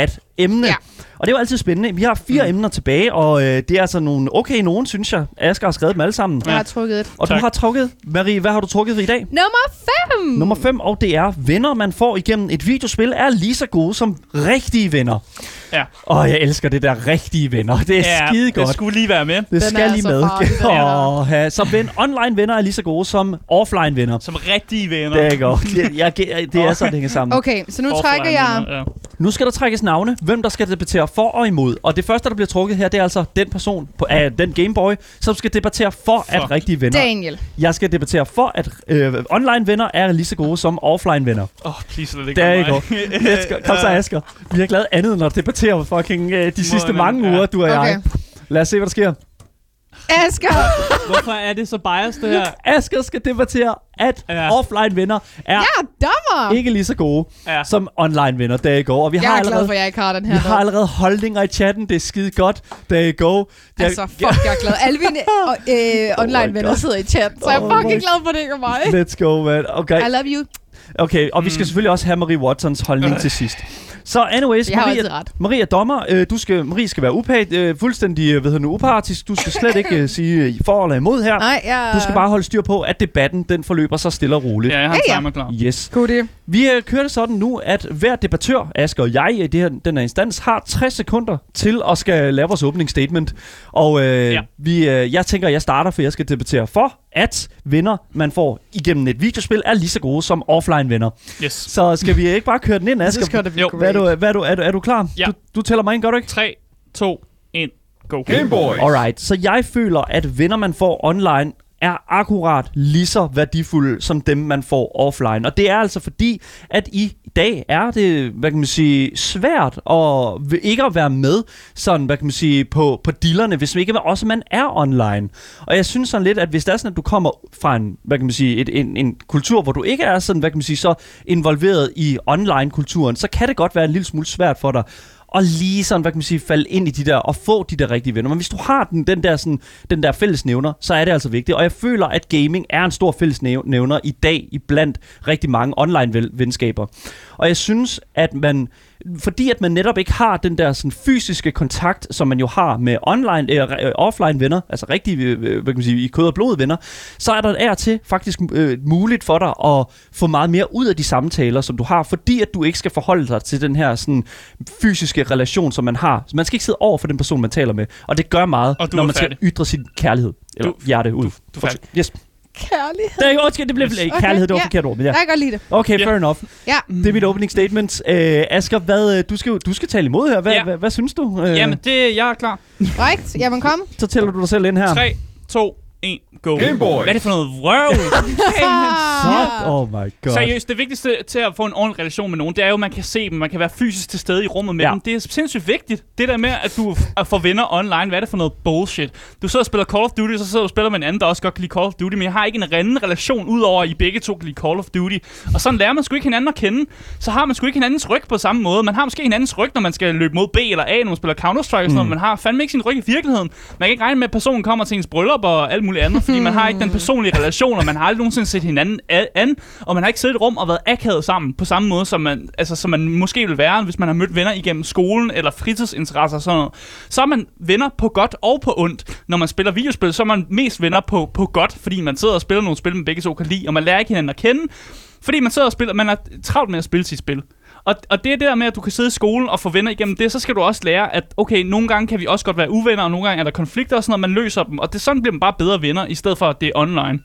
S2: debatemne.
S4: Ja.
S2: Ja. Og det var altid spændende. Vi har fire mm. emner tilbage, og øh, det er altså nogle okay nogen, synes jeg. Asger har skrevet dem alle sammen.
S4: Jeg har trukket et.
S2: Og
S3: Tak.
S2: du har trukket, Marie, hvad har du trukket for i dag?
S4: Nummer
S2: Mm.
S4: 5!
S2: Nummer 5, og det er, venner man får igennem et videospil, er lige så gode som rigtige venner.
S3: Ja.
S2: Og jeg elsker det der rigtige venner. Det er ja, skide godt.
S3: Det skulle lige være med.
S2: Det
S4: Den
S2: skal
S4: er
S2: lige
S4: så
S2: med.
S4: farlig, den der.
S2: [LAUGHS] Åh, ja. Så ven, online venner er lige så gode som offline venner.
S3: Som rigtige venner.
S2: Det er [LAUGHS] godt. Jeg, jeg, jeg, det er sådan, det hænger sammen. Okay.
S4: Okay, så nu trækker jeg...
S3: Ja.
S2: Nu skal der trækkes navne, hvem der skal debattere for og imod. Og det første, der bliver trukket her, det er altså den person, på, af den Gameboy, som skal debattere for,
S3: For.
S2: at rigtige venner.
S4: Daniel.
S2: Jeg skal debattere for, at øh, online venner er lige så gode som offline venner.
S3: Åh, oh, please, lad det
S2: Det
S3: ikke
S2: er ikke
S3: være
S2: godt. [LAUGHS] Let's go. Kom så, Asger. Vi har ikke lavet andet end at debattere fucking øh, de sidste
S3: Måden,
S2: mange
S3: ja.
S2: uger, du og
S4: Okay.
S2: jeg. Lad os se, hvad der sker.
S4: Asger.
S3: Øh,
S5: Hvorfor er det så biased, det her?
S2: Asger skal debattere, at
S3: Ja.
S2: offline venner er
S4: Jeg er dommer.
S2: ikke lige så gode
S3: Ja.
S2: ja. som online venner dage i går. Og vi
S4: Jeg
S2: har
S4: er glad
S2: allerede,
S4: for, at jeg ikke har den her.
S2: vi har
S4: dog.
S2: allerede holdninger i chatten. Det er skide godt dage i går. Det er-
S4: Altså, fuck, jeg er glad. Alle mine og, øh, online venner sidder i chat, så jeg er
S2: Oh my
S4: fucking glad for, at det ikke er mig.
S2: Let's go, man. Okay,
S4: I love you.
S2: okay. og vi skal selvfølgelig også have Marie Watsons holdning til sidst. Så anyways,
S4: Jeg har
S2: Marie,
S4: altid ret.
S2: Marie er dommer. Øh, du skal, Marie skal være upæt, øh, fuldstændig øh, hvad hedder nu, upartisk. Du skal slet ikke øh, sige øh, for eller imod her.
S4: Nej, jeg...
S2: Du skal bare holde styr på, at debatten den forløber så stille og roligt.
S3: Ja, jeg har en
S4: Ja, ja.
S3: timer klar.
S2: Yes.
S4: God idé.
S2: Vi øh, kører det sådan nu, at hver debattør, Asger og jeg i det her, den her instans, har 60 sekunder til at skal lave vores åbningsstatement. Og øh,
S3: Ja.
S2: ja. vi, øh, jeg tænker, at jeg starter, for jeg skal debattere for, at venner, man får igennem et videospil, er lige så gode som offline-venner.
S3: Yes.
S2: Så skal vi ikke bare køre den ind, Asger?
S4: This is gonna be
S3: Jo.
S2: Hvad er,
S4: great.
S2: du, hvad er, du, er, du, er du klar?
S3: Ja.
S2: Du, du tæller mig ind, gør du ikke?
S3: 3, 2, 1, go.
S1: Game Boys.
S2: Alright, så jeg føler, at venner, man får online, er akkurat lige så værdifulde som dem, man får offline. Og det er altså fordi, at i dag er det, hvad kan man sige, svært at v- ikke at være med sådan, hvad kan man sige, på, på dealerne, hvis man ikke er- også man er online. Og jeg synes sådan lidt, at hvis det er sådan, at du kommer fra en, hvad kan man sige, et, en, en kultur, hvor du ikke er sådan, hvad kan man sige, så involveret i online-kulturen, så kan det godt være en lille smule svært for dig og lige sådan, hvad kan man sige, falde ind i de der, og få de der rigtige venner. Men hvis du har den, den, der, sådan, den der fællesnævner, så er det altså vigtigt. Og jeg føler, at gaming er en stor fællesnævner i dag, i blandt rigtig mange online vel- venskaber. Og jeg synes, at man, fordi at man netop ikke har den der sådan, fysiske kontakt, som man jo har med online, øh, re- øh, offline venner, altså rigtige, øh, hvad kan man sige, i kød og blod venner, så er der af og til faktisk øh, muligt for dig at få meget mere ud af de samtaler, som du har, fordi at du ikke skal forholde dig til den her sådan, fysiske relation, som man har. Så man skal ikke sidde over for den person, man taler med, og det gør meget,
S3: Og du
S2: når
S3: er
S2: man skal
S3: færdig.
S2: ytre sin kærlighed, eller
S3: Du-
S2: hjerte ud.
S3: du er færdig.
S2: yes.
S4: Kærlighed.
S2: Det er ikke, undskyld, det blev
S3: Yes.
S2: yes. kærlighed, det var
S4: Okay, ja.
S2: forkert ord, men ja.
S4: Jeg kan godt lide det.
S2: Okay,
S3: Ja.
S2: fair enough.
S4: Ja.
S2: Det er mit opening statement. Øh, Asger, hvad, øh, du, skal, jo- du skal tale imod her. Hvad,
S3: Ja.
S2: ja. hvad, hvad synes du? Øh,
S3: Jamen, det, jeg er klar.
S4: Right? Jamen, kom.
S2: Så tæller du dig selv ind her.
S3: 3, 2, 1, go.
S1: Game Boy.
S3: Hvad er det for noget vrøvl?
S4: [LAUGHS]
S2: What? Oh my god.
S3: Ah. Seriøst, det vigtigste til at få en ordentlig relation med nogen, det er jo, at man kan se dem, man kan være fysisk til stede i rummet med ja.
S2: Ja.
S3: dem. Det er sindssygt vigtigt. Det der med, at du f- at får venner online, hvad er det for noget bullshit? Du sidder og spiller Call of Duty, så sidder du og spiller med en anden, der også godt kan lide Call of Duty, men jeg har ikke en anden relation, udover at I begge to kan lide Call of Duty. Og sådan lærer man sgu ikke hinanden at kende. Så har man sgu ikke hinandens ryg på samme måde. Man har måske hinandens ryg, når man skal løbe mod B eller A, når man spiller Counter-Strike og sådan noget. Man har fandme ikke sin ryg i virkeligheden. Man kan ikke regne med, at personen kommer til ens bryllup og alt muligt andet, fordi man har ikke den personlige relation, og man har aldrig nogensinde set hinanden a- an, og man har ikke siddet i et rum og været akavet sammen på samme måde, som man, altså, som man måske ville være, hvis man har mødt venner igennem skolen eller fritidsinteresser og sådan noget. Så er man venner på godt og på ondt. Når man spiller videospil, så er man mest venner på, på godt, fordi man sidder og spiller nogle spil, man begge to kan lide, og man lærer ikke hinanden at kende, fordi man sidder og spiller, man er travlt med at spille sit spil. Og, og det er det der med, at du kan sidde i skolen og få venner igennem det, så skal du også lære, at okay, nogle gange kan vi også godt være uvenner, og nogle gange er der konflikter og sådan noget, man løser dem. Og det, sådan bliver man bare bedre venner, i stedet for at det er online.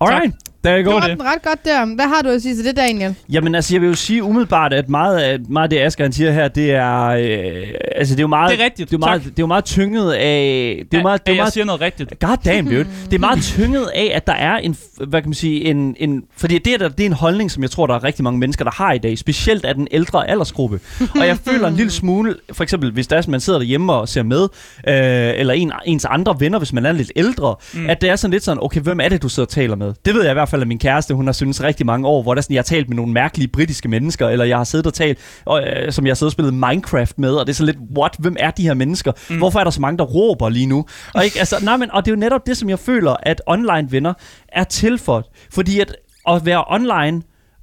S2: Alright. Der er
S4: Du
S2: godt
S4: har
S2: det.
S4: den ret godt der. Hvad har du at sige til det, Daniel?
S2: Jamen altså, jeg vil jo sige umiddelbart, at meget af, meget af det, Asger han siger her, det er... Øh, altså, det er jo meget...
S3: Det er rigtigt.
S2: Det er jo meget,
S3: Tak.
S2: det er jo meget tynget af... Det er jo meget, det er jo
S3: at, at jeg
S2: meget
S3: siger noget rigtigt.
S2: God damn, dude. Det er meget tynget af, at der er en, hvad kan man sige, en, en fordi det, der, det er en holdning, som jeg tror, der er rigtig mange mennesker, der har i dag, specielt af den ældre aldersgruppe. Og jeg føler en lille smule, for eksempel, hvis der er, sådan, man sidder derhjemme og ser med, øh, eller en, ens andre venner, hvis man er lidt ældre, mm. at det er sådan lidt sådan, okay, hvem er det, du sidder og taler med? Det ved jeg i hvert fald af min kæreste, hun har syntes rigtig mange år, hvor der sådan, jeg har talt med nogle mærkelige britiske mennesker, eller jeg har siddet og talt, og, øh, som jeg har siddet og spillet Minecraft med, og det er sådan lidt, what, hvem er de her mennesker? Mm. Hvorfor er der så mange, der råber lige nu? Og, ikke, altså, nej, men, og det er jo netop det, som jeg føler, at online venner er til for. Fordi at, at være online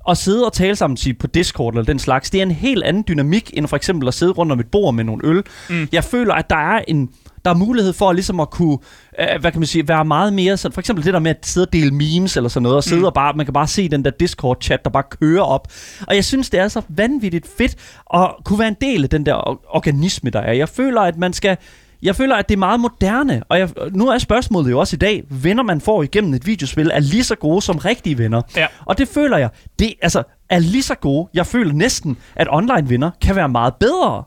S2: at sidde og tale sammen sige, på Discord eller den slags, det er en helt anden dynamik, end for eksempel at sidde rundt om et bord med nogle øl. Mm. Jeg føler, at der er en der er mulighed for ligesom at kunne, øh, hvad kan man sige, være meget mere sådan, for eksempel det der med at sidde og dele memes eller sådan noget, og sidde mm. og bare, man kan bare se den der Discord-chat, der bare kører op. Og jeg synes, det er så vanvittigt fedt at kunne være en del af den der or- organisme, der er. Jeg føler, at man skal, jeg føler, at det er meget moderne, og jeg, nu er spørgsmålet jo også i dag, venner man får igennem et videospil, er lige så gode som rigtige venner.
S3: Ja.
S2: Og det føler jeg, det altså, er lige så gode. Jeg føler næsten, at online venner kan være meget bedre.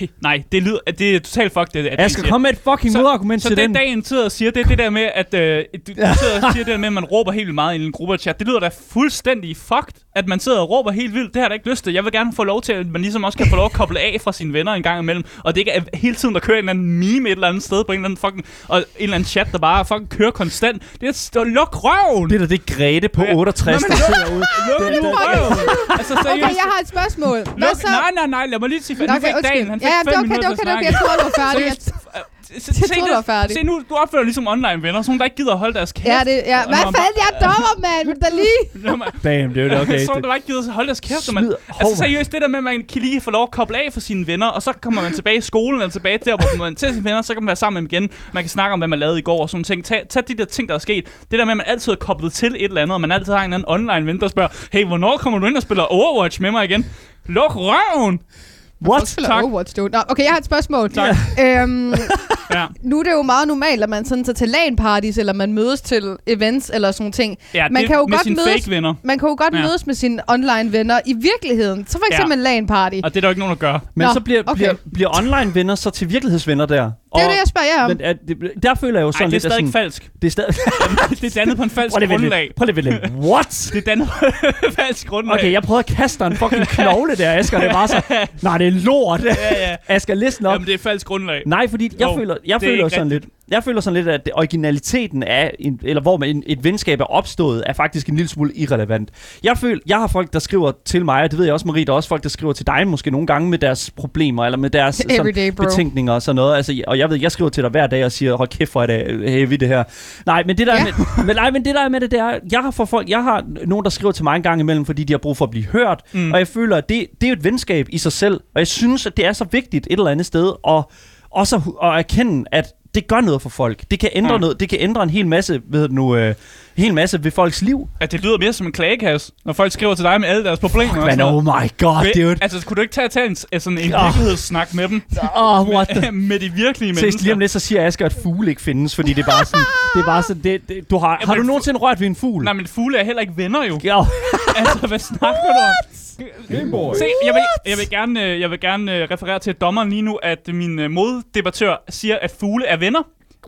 S3: Ej, nej, det lyder, det er totalt fuck det. at
S2: Jeg skal
S3: den siger.
S2: komme med et fucking modargument
S3: så
S2: til
S3: det
S2: den.
S3: dagen sidder og siger, det er det der med, at øh, du, du sidder og siger det der med, at man råber helt vildt meget i en gruppe chat. Det lyder da fuldstændig fucked, at man sidder og råber helt vildt. Det har jeg da ikke lyst til. Jeg vil gerne få lov til, at man ligesom også kan få lov at koble af fra sine venner en gang imellem. Og det ikke er hele tiden, der kører en eller anden meme et eller andet sted på en eller anden fucking... Og en eller anden chat, der bare fucking kører konstant. Det er st- luk røven!
S2: Det er da det Grete på
S3: Ja.
S2: 68,
S3: Nå,
S2: der
S3: men-
S2: sidder ude.
S3: Luk nu
S2: den-
S3: røven! Altså
S4: Okay,
S3: seriøst.
S4: jeg har et spørgsmål. Hvad
S3: Luk,
S4: så?
S3: nej, nej, nej, lad mig lige sige, for
S4: Nå,
S3: nu fik Dan, han fik
S4: Ja, ja,
S3: fem
S4: det er okay, det
S3: minutter
S4: er
S3: til at
S4: okay, det er
S3: snakke.
S4: okay. Jeg troede, du var færdig.
S3: Seriøst. øh, Se,
S4: Jeg troede, du var færdig.
S3: Se nu, du opfører dig ligesom online venner, sådan nogen, der ikke gider at holde deres kæft.
S4: Ja, det, ja. Hvad
S3: Nå,
S4: fanden, jeg er dommer, mand? Vil du Da lige.
S3: Når man,
S2: Damn, [LAUGHS] det er jo det,
S3: okay,
S2: okay.
S3: så nogen,
S2: Det-
S3: der ikke gider at holde deres kæft. Man,
S2: Smider
S3: altså
S2: håret.
S3: seriøst, det der med, at man kan lige få lov at koble af for sine venner, og så kommer man tilbage i skolen, eller tilbage der, hvor man er til sine venner, så kan man være sammen med dem igen. Man kan snakke om, hvad man lavede i går og sådan nogle ting. Tag, tag de der ting, der er sket. Det der med, at man altid er koblet til et eller andet, og man altid har en anden online ven, der spørger, hey, hvornår kommer du ind og spiller Overwatch med mig igen? Luk røven!
S2: What?
S4: Eller
S3: Tak.
S4: Overwatch, dude. Nå, okay, jeg har et spørgsmål.
S3: Tak.
S4: Øhm,
S3: Ja.
S4: nu er det jo meget normalt, at man sådan tager til LAN-parties, eller man mødes til events, eller sådan nogle ting.
S3: Ja,
S4: man
S3: det
S4: kan jo
S3: med
S4: godt
S3: sine
S4: mødes-
S3: fake venner.
S4: Man kan jo godt
S3: Ja.
S4: ja. mødes med sine online venner i virkeligheden. Så for
S3: Ja.
S4: eksempel ja. LAN-party.
S3: Og det er der jo ikke nogen, der gør.
S2: Men
S4: Nå,
S2: så bliver,
S4: okay.
S2: bliver, bliver online-venner så til virkelighedsvenner der.
S4: Det er jo det, jeg spørger jer om.
S2: men er, det, der føler jeg jo sådan
S3: Nej, det er
S2: lidt, at
S3: stadig
S2: sådan,
S3: falsk.
S2: det er stadig...
S3: Det er dannet på en
S2: [LAUGHS]
S3: falsk
S2: Prøv lige at vente
S3: grundlag.
S2: lidt. Prøv lige [LAUGHS] at vente lidt. What?
S3: Det er dannet falsk grundlag.
S2: Okay, jeg prøvede at kaste dig en
S4: [LAUGHS]
S2: fucking knogle der, Asger. Det var så... [LAUGHS] Nej, det er lort.
S3: Ja, ja.
S2: Asger, listen op.
S3: Jamen, det er falsk grundlag.
S2: Nej, fordi jeg
S3: Jo,
S2: føler, jeg
S3: det er
S2: føler
S3: ikke
S2: sådan lidt, jeg føler sådan lidt, at det- originaliteten af, en, eller hvor man, en, et venskab er opstået, er faktisk en lille smule irrelevant. Jeg føler, jeg har folk, der skriver til mig, og det ved jeg også, Marie, der er også folk, der skriver til dig måske nogle gange med deres problemer, eller med deres
S4: [LAUGHS] Everyday, bro.
S2: betænkninger og sådan noget. Altså, og jeg ved, jeg skriver til dig hver dag og siger, hold kæft, hvor er det øh, heavy det her. Nej, men det der,
S4: Ja.
S2: ja. med, men, nej, men det der er med det, det er, jeg har for folk, jeg har nogen, der skriver til mig en gang imellem, fordi de har brug for at blive hørt, mm. og jeg føler, at det, det er jo et venskab i sig selv, og jeg synes, at det er så vigtigt et eller andet sted at, også at, hu- at erkende, at det gør noget for folk. Det kan ændre
S3: Mm.
S2: mm. noget. Det kan ændre en hel masse, ved du nu, øh, hel masse ved folks liv.
S3: At Altså, det lyder mere som en klagekasse, når folk skriver til dig med alle deres problemer. og
S2: Men
S3: sådan
S2: oh
S3: noget.
S2: my god,
S3: Vil-
S2: dude.
S3: Altså, kunne du ikke tage, tage en, s- sådan en
S2: Åh. [LAUGHS]
S3: virkelighedssnak med dem?
S2: Oh, what
S3: [LAUGHS]
S2: the
S3: med de virkelige mennesker?
S2: Ses lige om lidt, så siger Asger, at fugle ikke findes, fordi det er bare sådan, det er bare sådan, det, det, du har, har du
S3: fu-
S2: nogensinde rørt ved en fugl?
S3: Nej, men fugle er heller ikke venner jo.
S2: Ja,
S3: altså, hvad snakker du om?
S1: Game Boy.
S3: Se, jeg vil, jeg vil gerne, øh, jeg vil gerne øh, referere til dommeren lige nu, at min øh, moddebattør siger, at fugle er venner.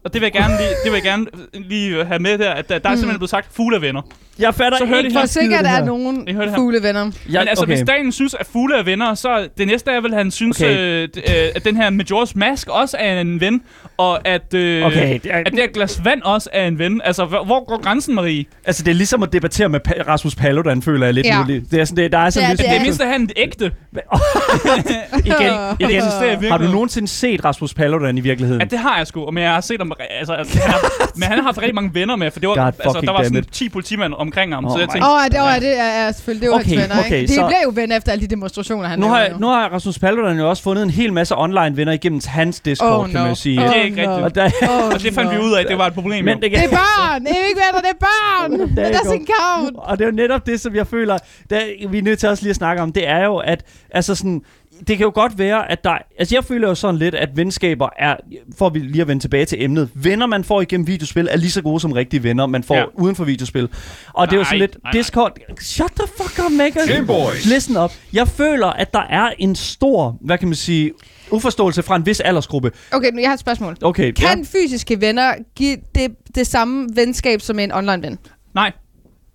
S3: Og det vil jeg gerne lige, det vil jeg gerne øh, lige øh, have med der, at der,
S2: Mm.
S3: der er simpelthen blevet sagt, fugle er venner.
S2: jeg fatter
S3: Så hører
S2: ikke
S3: de
S2: en
S3: her.
S4: For
S2: skid af
S4: sikkert
S2: det her.
S4: er nogen
S3: Jeg hører det her.
S4: fuglevenner.
S2: Ja,
S3: Ja, men altså, okay.
S2: okay.
S3: hvis Daniel synes, at fugle er venner, så er det næste er vel, at han synes, okay.
S2: Okay.
S3: øh, d- øh, at den her Majora's Mask også er en ven, og at, øh,
S2: Okay, det er-
S3: at det her glas vand også er en ven. Altså, hvor, hvor går grænsen, Marie?
S2: Altså, det er ligesom at debattere med Pa- Rasmus Paludan, føler jeg lidt
S4: Ja.
S2: ja. nu. lige. Det er sådan, det, der er sådan
S4: Ja,
S2: lidt...
S3: Det er
S4: Ja.
S3: mindst, at han er en ægte. [LAUGHS]
S2: igen,
S3: Det
S4: [LAUGHS]
S2: igen.
S3: eksisterer i virkeligheden.
S2: Har du nogensinde set Rasmus Paludan i virkeligheden?
S3: Ja, det har jeg sgu, men jeg har set ham, altså, altså han har, men han har haft rigtig mange venner med, for det var,
S2: God
S3: altså, der
S2: fucking
S3: var sådan
S2: damn it.
S3: 10 politimænd omkring ham, oh
S2: Oh
S3: så jeg
S2: my-
S3: tænkte,
S4: Åh, oh, det, oh, det er ja, selvfølgelig det er jo
S2: Okay,
S4: hans venner,
S2: okay,
S4: ikke? De
S2: så-
S4: bliver jo ven efter alle de demonstrationer, han
S2: nu
S4: laver
S2: har, nu har Rasmus Paludan jo også fundet en hel masse online venner igennem hans Discord,
S4: Oh,
S2: kan man
S4: no.
S2: jo sige.
S3: det er ikke
S4: Oh, no.
S3: rigtigt.
S2: Og der,
S4: Åh,
S3: Og det fandt
S4: nå.
S3: vi ud af, at det var et problem.
S2: men
S3: Men
S2: det
S4: Det
S2: kan,
S4: er børn! Det er ikke venner, det er børn!
S2: Der
S4: It
S2: er
S4: doesn't count!
S2: Og det er jo netop det, som jeg føler, der, vi er nødt til også lige at snakke om, det er jo, at altså sådan, det kan jo godt være, at der... Altså, jeg føler jo sådan lidt, at venskaber er... For vi lige at vende tilbage til emnet. Venner, man får igennem videospil, er lige så gode som rigtige venner, man får
S3: Ja.
S2: ja. uden for videospil. Og det er jo
S3: Nej,
S2: sådan lidt...
S3: nej, nej.
S2: Discord... Shut the fuck up, Megan!
S1: Game Boys.
S2: Listen up. Jeg føler, at der er en stor, hvad kan man sige, uforståelse fra en vis aldersgruppe.
S4: Okay, nu jeg har et spørgsmål.
S2: Okay,
S4: Kan fysiske venner give det, det samme venskab som en online-ven?
S3: nej,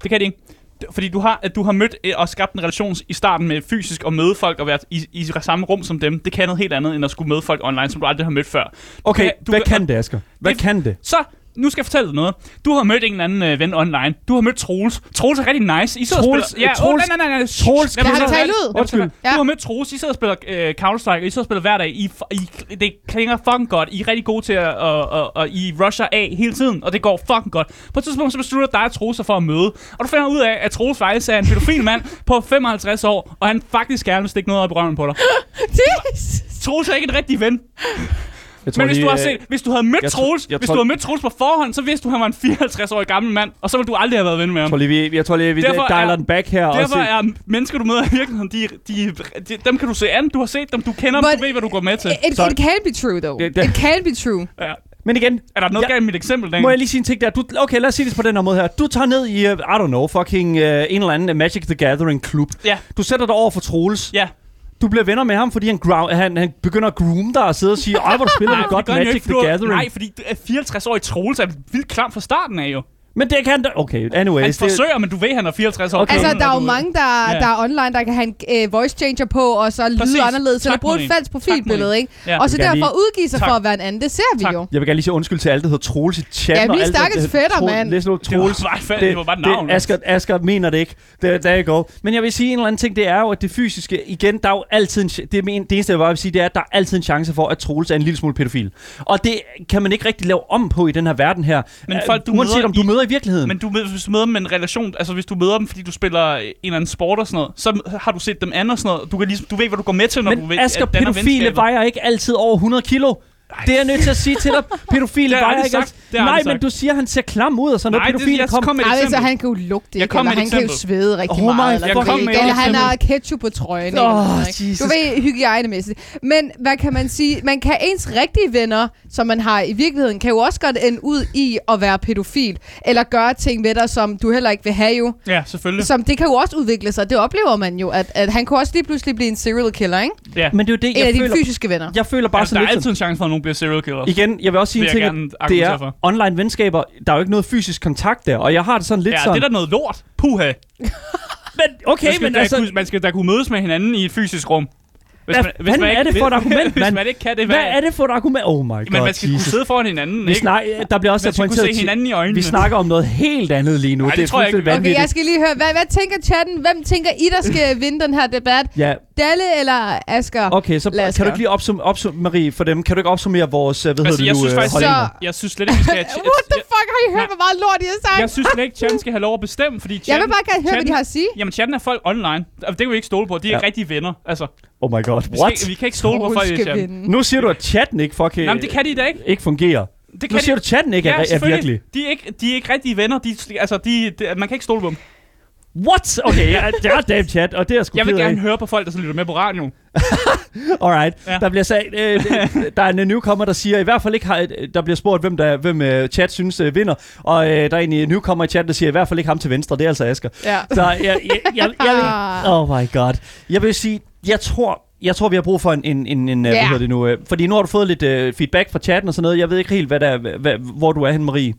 S3: det kan det ikke. Det- Fordi du har, at du har mødt øh, og skabt en relation i starten med fysisk at møde folk og være i, i samme rum som dem. Det kan noget helt andet, end at skulle møde folk online, som du aldrig har mødt før.
S2: Okay,
S3: kan- du
S2: hvad
S3: kan-
S2: kan det, Asger? Hvad
S3: Det-
S2: kan det?
S3: Så nu skal jeg fortælle dig noget. Du har mødt en eller anden øh, ven online. Du har mødt Troels. Troels er rigtig nice. I sidder
S2: Troels-
S3: og spiller...
S2: øh, Troels-
S3: åh, nej, nej, nej. Shh,
S2: Troels-
S3: lad mig
S4: Kan
S3: så-
S4: han tale ud?
S3: lad mig så-
S2: Undskyld.
S3: Du
S4: Ja.
S3: har mødt Troels. I sidder og spiller øh, Counter-Strike, og I sidder og spiller hver dag. I, I, det klinger fucking godt. I er rigtig gode til at... Og, og, og I rusher af hele tiden, og det går fucking godt. På et tidspunkt, så beslutter dig og Troels sig for at møde. Og du finder ud af, at Troels faktisk er en pædofil
S4: [LAUGHS]
S3: mand på 55 år, og han faktisk gerne vil stikke noget op i røven på
S4: [LAUGHS]
S3: dig. Troels er ikke en rigtig ven.
S2: Jeg tror
S3: Men hvis
S2: lige,
S3: du, har
S2: øh,
S3: set, hvis du havde mødt
S2: jeg tror-
S3: Troels,
S2: jeg
S3: hvis
S2: tror-
S3: du havde mødt Troels på forhånd, så vidste du, at han var en 54-årig gammel mand, og så ville du aldrig have været ven med
S2: Jeg
S3: ham.
S2: tror lige, vi, jeg tror lige, vi
S3: Derfor
S2: dialer
S3: er-
S2: den back her. og
S3: Derfor
S2: se-
S3: er mennesker, du møder i virkeligheden, de, de, de, dem kan du se an. Du har set dem, du kender dem,
S4: But-
S3: du ved, hvad du går med til.
S4: It, it,
S2: Så-
S4: it can be true, though.
S2: Det- det-
S4: It can be true.
S3: Ja.
S2: Men igen,
S3: Er der noget
S2: Ja.
S3: galt med mit eksempel, Dan?
S2: Må jeg lige sige en ting der? Du, okay, lad os sige det på den her måde her. Du tager ned i, øh, I don't know, fucking uh, en eller anden øh, Magic the Gathering klub.
S3: Ja.
S2: Du sætter dig over for Troels.
S3: Ja,
S2: Du bliver venner med ham, fordi han, ground, han, han begynder at groom dig og sidde og sige, ej, hvor du spiller du godt
S3: det gør han jo
S2: Magic
S3: ikke,
S2: the
S3: fordi du-
S2: Gathering.
S3: Nej, fordi 54-årig Troels er vildt klam fra starten af jo.
S2: Men det kan han da... Okay,
S3: Han
S2: anyways. det,
S3: forsøger, men du ved, han er 54 år.
S2: Okay.
S4: Altså,
S3: gammel,
S4: der er
S3: og
S4: jo
S3: du-
S4: mange, der,
S3: Ja.
S4: der er online, der kan have en øh, voice changer på, og så lyde
S3: Præcis.
S4: anderledes,
S3: Tak,
S4: eller bruge et
S3: Marie.
S4: falsk profilbillede, ikke?
S3: Ja.
S4: Og så
S2: Du kan
S4: derfor
S2: lige-
S4: udgive sig
S3: Tak.
S4: for at være en anden. Det ser vi
S3: Tak.
S4: jo.
S2: jeg vil gerne lige sige undskyld til alt, der hedder Troels i chatten.
S4: Ja, vi
S2: og
S4: er
S2: alt det-
S4: stakkels
S2: det hedder
S4: fætter,
S2: Troels-
S4: mand.
S2: Læs nu,
S3: Det
S2: Troels.
S3: var, det, det, var bare et navn.
S2: det, Asger, Asger mener det ikke. Det, der er ikke over. Men jeg vil sige en eller anden ting, det er jo, at det fysiske, igen, der er jo altid en, ch- det, er men, det eneste, jeg bare vil sige, det er, at der er altid en chance for, at Troels er en lille smule pædofil. Og det kan man ikke rigtig lave om på i den her verden her.
S3: Men
S2: Øh,
S3: folk, du
S2: Uanset
S3: møder
S2: om du
S3: i-
S2: møder i virkeligheden.
S3: Men du, møder- hvis du møder dem med en relation, altså hvis du møder dem, fordi du spiller en eller anden sport og sådan noget, så har du set dem andet og sådan noget. Du, kan ligesom, du ved, hvad du går med til, når du
S2: Men
S3: ved,
S2: Asger,
S3: at danner
S2: pædofile
S3: venskaber.
S2: vejer ikke altid over 100 kilo. Det er jeg nødt til at sige til dig. Pædofile
S3: [LAUGHS] Det har jeg
S2: vejer
S3: aldrig
S2: ikke
S3: sagt.
S2: altid.
S3: Det har jeg
S2: Nej,
S3: aldrig
S2: men
S3: sagt.
S2: du siger, at han ser klam ud og sådan
S3: Nej,
S2: noget.
S3: det, jeg
S2: Pædofile
S3: kom, kom med et
S4: Nej, altså,
S3: eksempel.
S4: han kan jo lugte,
S3: Jeg
S4: ikke?
S3: kom
S4: Eller
S3: med et
S4: han kan jo
S3: eksempel.
S4: svede rigtig
S2: Oh my
S4: meget. Eller,
S3: fucking-
S4: du
S3: Jeg
S4: ved,
S3: kom med et
S4: eller han
S3: eksempel.
S4: har ketchup på trøjen.
S2: Åh,
S4: eller sådan noget, ikke?
S2: Jesus.
S4: Du ved, hygiejnemæssigt. Men hvad kan man sige? Man kan ens rigtige venner, som man har i virkeligheden, kan jo også godt ende ud i at være pædofil. Eller gøre ting ved dig, som du heller ikke vil have jo.
S3: Ja, selvfølgelig.
S4: Som det kan jo også udvikle sig. Det oplever man jo, at, at han kunne også lige pludselig blive en serial killer, ikke?
S3: Ja.
S2: Men det er jo det,
S4: En af
S2: jeg
S4: dine
S2: føler.
S4: fysiske venner.
S2: Jeg føler bare
S3: Altså,
S2: sådan
S3: der er
S2: lidt sådan-
S3: altid en chance for, at nogen bliver serial killer.
S2: Igen, jeg vil også sige
S3: Vil
S2: en ting,
S3: jeg
S2: at
S3: gerne
S2: det
S3: argumentere
S2: er
S3: for.
S2: online venskaber, der er jo ikke noget fysisk kontakt der, og jeg har det sådan lidt
S3: Ja,
S2: sådan...
S3: det er da noget lort. Puha.
S2: men, okay,
S3: man skal,
S2: men
S3: da
S2: altså...
S3: kunne, man skal da kunne mødes med hinanden i et fysisk rum. Hvis
S2: Hvad fanden er det for et argument,
S3: [LAUGHS] hvis
S2: mand?
S3: man ikke kan det,
S2: Hvad er det for et argument? Oh my god,
S3: Men man skal kunne
S2: Jesus.
S3: sidde foran hinanden,
S2: Vi
S3: ikke?
S2: snakker, der bliver også
S3: Man skal kunne
S2: pointeret
S3: se
S2: til-
S3: hinanden i øjnene.
S2: Vi snakker om noget helt andet lige nu.
S3: Ej, det
S2: det er
S3: tror jeg ikke.
S2: fuldstændig
S4: Okay,
S2: vanvittigt.
S4: jeg skal lige høre, hvad, hvad tænker chatten? Hvem tænker I, der skal vinde den her debat?
S2: Ja,
S4: Dalle eller Asger?
S2: okay, så
S4: Lad os
S2: kan du
S4: gøre.
S2: ikke lige opsummere, opsum, Marie, for dem, kan du ikke opsummere vores, øh, hvad hedder
S3: Altså,
S2: det
S3: jeg
S2: nu,
S3: synes
S2: øh,
S3: faktisk,
S2: holdninger?
S4: så-
S3: Jeg synes slet ikke, vi skal...
S2: [LAUGHS]
S4: What the fuck? Har I hørt,
S3: Nej.
S4: hvor meget lort I har sagt?
S3: Jeg synes slet ikke, Chan skal have lov at bestemme, fordi Chan,
S4: Jeg vil bare gerne høre, hvad de
S3: Chan-
S4: har at sige.
S3: Jamen, chatten er folk online. Altså, Det kan vi ikke stole på. De er
S2: Ja.
S3: ja. rigtige venner. Altså,
S2: Oh my god,
S3: vi,
S2: what?
S3: skal, vi kan ikke stole på
S4: Troels
S3: folk i
S4: skal
S3: chatten.
S4: vinde.
S2: Nu siger du, at chatten ikke fucking...
S3: Jamen, det kan de da ikke.
S2: ikke fungerer.
S3: Det kan
S2: Nu siger
S3: de.
S2: du, at chatten ikke er, er
S3: selvfølgelig.
S2: virkelig.
S3: De er ikke, de er ikke rigtige venner. De, altså, de, de, man kan ikke stole på dem.
S2: What? Okay, jeg, det er damn chat, og det er jeg sgu
S3: Jeg vil
S2: ked af.
S3: gerne høre på folk, der sådan lytter med på radioen.
S2: Alright. Ja.
S3: Ja.
S2: Der bliver sagt, øh, der er en newcomer, der siger, i hvert fald ikke har, der bliver spurgt, hvem, der, hvem øh, chat synes øh, vinder, og øh, der er en øh, newcomer i chat, der siger, i hvert fald ikke ham til venstre, det er altså Asger.
S4: Ja.
S2: Så jeg, jeg, jeg, jeg, jeg
S4: Ah.
S2: oh my god. Jeg vil sige, jeg tror, jeg tror, vi har brug for en, en, en, en yeah. hvad
S4: Ja.
S2: hedder det nu, øh, fordi nu har du fået lidt øh, feedback fra chatten og sådan noget, jeg ved ikke helt, hvad der, hvad, hvor du er hen, Marie.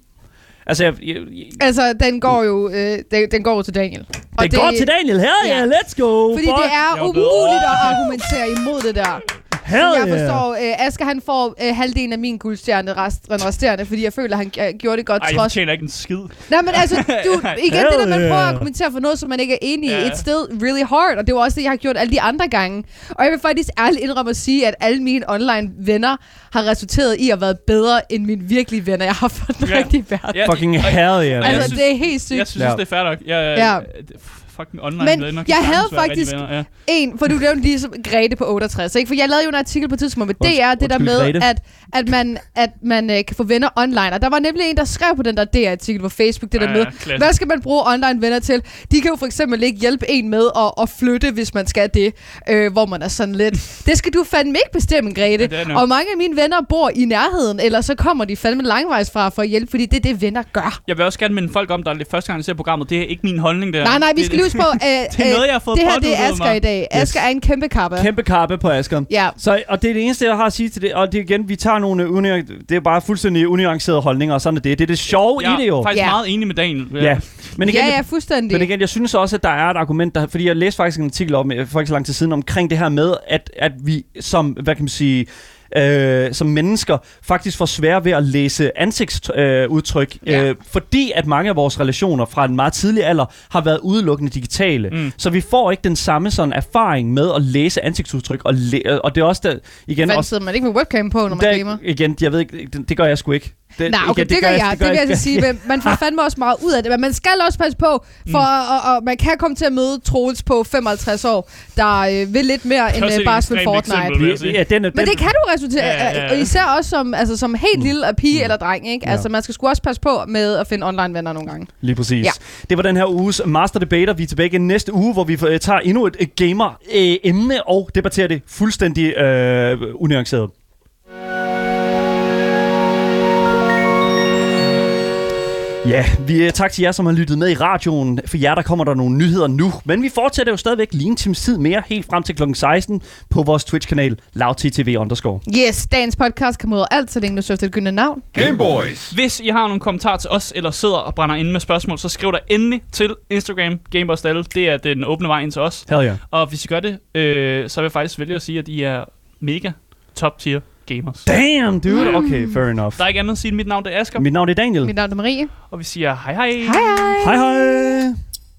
S2: Altså, jeg, jeg, jeg,
S4: Altså, den går jo øh, den, den går jo til Daniel. Og
S2: det, går til Daniel, hell
S4: Ja.
S2: yeah, let's go!
S4: Fordi
S2: fuck.
S4: det er
S3: Jeg er bedre.
S4: umuligt at argumentere imod det der.
S2: hell
S4: Jeg
S2: yeah.
S4: forstår, øh, Asger han får øh, halvdelen af min guldstjerne, rest, den resterende, fordi jeg føler, han øh, gjorde det godt
S3: Ej, jeg
S4: trods.
S3: fortjener ikke en skid.
S4: Nej, men
S3: [LAUGHS]
S4: altså, du, igen det der, man
S2: Hell
S4: prøver at
S2: yeah.
S4: argumentere for noget, som man ikke er enig i.
S3: Ja.
S4: It's still really hard, og det var også det, jeg har gjort alle de andre gange. Og jeg vil faktisk ærligt indrømme at sige, at alle mine online venner har resulteret i at være bedre end mine virkelige venner, jeg har fået den
S3: Ja.
S4: rigtige verden.
S3: Ja,
S2: Fucking
S3: og-
S2: hell yeah.
S3: jeg
S4: Altså,
S3: synes-
S4: det er helt sygt.
S3: Jeg synes,
S2: Ja.
S3: det er fair nok. Jeg,
S4: Ja.
S3: ja. Fucking online
S4: Men
S3: venner. kan
S4: jeg havde
S3: sagtens være rigtige
S4: faktisk-
S3: venner, Ja.
S4: En, for du nævnte ligesom Grete på 68, ikke? For jeg lavede jo en artikel på et tidspunkt med
S2: Unds-
S4: DR, det der
S2: undskyld,
S4: med,
S2: Grete.
S4: at, at man, at man øh, kan få venner online. Og der var nemlig en, der skrev på den der DR-artikel på Facebook, det der
S3: Ja,
S4: med,
S3: ja, klasse.
S4: hvad skal man bruge online venner til? De kan jo for eksempel ikke hjælpe en med at, at flytte, hvis man skal det, øh, hvor man er sådan
S3: [LAUGHS]
S4: lidt. Det skal du fandme ikke bestemme, Grete.
S3: Ja, det er nok.
S4: og mange af mine venner bor i nærheden, eller så kommer de fandme langvejs fra for at hjælpe, fordi det er det, venner gør.
S3: Jeg vil også gerne minde folk om, der er lidt første gang, de ser programmet. Det er ikke min holdning, det
S4: Ja.
S3: her.
S4: Nej, nej, vi
S3: Det-
S4: skal lige
S3: [LAUGHS]
S4: huske på, øh,
S3: Det er noget, jeg har fået
S4: det her det er
S3: påduttet
S4: Asger
S3: mig.
S4: i dag.
S2: Yes.
S4: Asger er en kæmpe kappe.
S2: Kæmpe kappe på Asger.
S4: Ja.
S2: Så, og det er det eneste, jeg har at sige til det. Og det er igen, vi tager nogle øh, unuan- det er bare fuldstændig unuancerede holdninger, og sådan er det. Det er det sjove
S3: Jeg
S2: i det jo.
S3: er faktisk
S4: Ja.
S3: meget enig med Daniel.
S2: Ja. Men igen,
S4: ja, ja,
S2: jeg,
S4: fuldstændig.
S2: men igen, jeg synes også, at der er et argument, der, fordi jeg læste faktisk en artikel om, øh, for ikke så lang tid siden, omkring det her med, at, at vi som, hvad kan man sige, øh, som mennesker faktisk får svære ved at læse ansigtsudtryk, øh, udtryk,
S4: Ja.
S2: øh, fordi at mange af vores relationer fra en meget tidlig alder har været udelukkende digitale.
S3: Mm.
S2: Mm. Så vi får ikke den samme sådan erfaring med at læse ansigtsudtryk, og, læ- og det er også der, igen...
S4: Fandt
S2: Også,
S4: sidder man ikke med webcam på, når man gamer?
S2: der, igen, jeg ved ikke, det, det gør jeg sgu ikke. Det,
S4: Nej,
S2: igen,
S4: okay, det, det gør jeg. Det, det vil jeg altså
S2: [LAUGHS]
S4: sige. Men [LAUGHS] man får fandme også meget ud af det. Men man skal også passe på, for og, og, man kan komme til at møde Troels på 55 år, der øh, vil lidt mere end
S3: også
S4: øh,
S3: et
S4: bare spille
S3: ekstremt
S4: Fortnite.
S3: eksempel. vil jeg sige.
S2: Ja, den, er-
S4: Men
S2: den,
S4: det kan du resultere
S3: Ja, ja, ja.
S4: og især også som, altså, som helt lille af pige eller dreng. Ikke?
S2: Ja.
S4: Altså, man skal sgu også passe på med at finde online venner nogle gange.
S2: Lige præcis.
S4: Ja.
S2: Ja. Det var den her uges Master Debater. Vi er tilbage igen næste uge, hvor vi øh, tager endnu et øh, gamer-emne og debatterer det fuldstændig øh, unuanceret. Ja, vi, øh, tak til jer, som har lyttet med i radioen. For jer, der kommer der nogle nyheder nu. Men vi fortsætter jo stadigvæk lige en times tid mere, helt frem til kl. 16 på vores Twitch-kanal, lavttv underscore.
S4: Yes, dagens podcast kan mod alt, så længe du søger efter et gyldne navn.
S1: Game Boys.
S3: Hvis I har nogle kommentarer til os, eller sidder og brænder inde med spørgsmål, så skriv der endelig til Instagram, Gameboys Dalle. Det er den åbne vej ind til os.
S2: Hell yeah.
S3: Og hvis I gør det, øh, så vil jeg faktisk vælge at sige, at I er mega top tier gamers.
S2: Damn, dude.
S4: Mm.
S2: Okay, fair enough.
S3: Der er ikke andet at sige, end mit navn det er Asger,
S2: Mit navn er Daniel.
S4: Mit navn er Marie.
S3: og vi siger hej hej.
S4: Hej hej.
S2: Hej hej.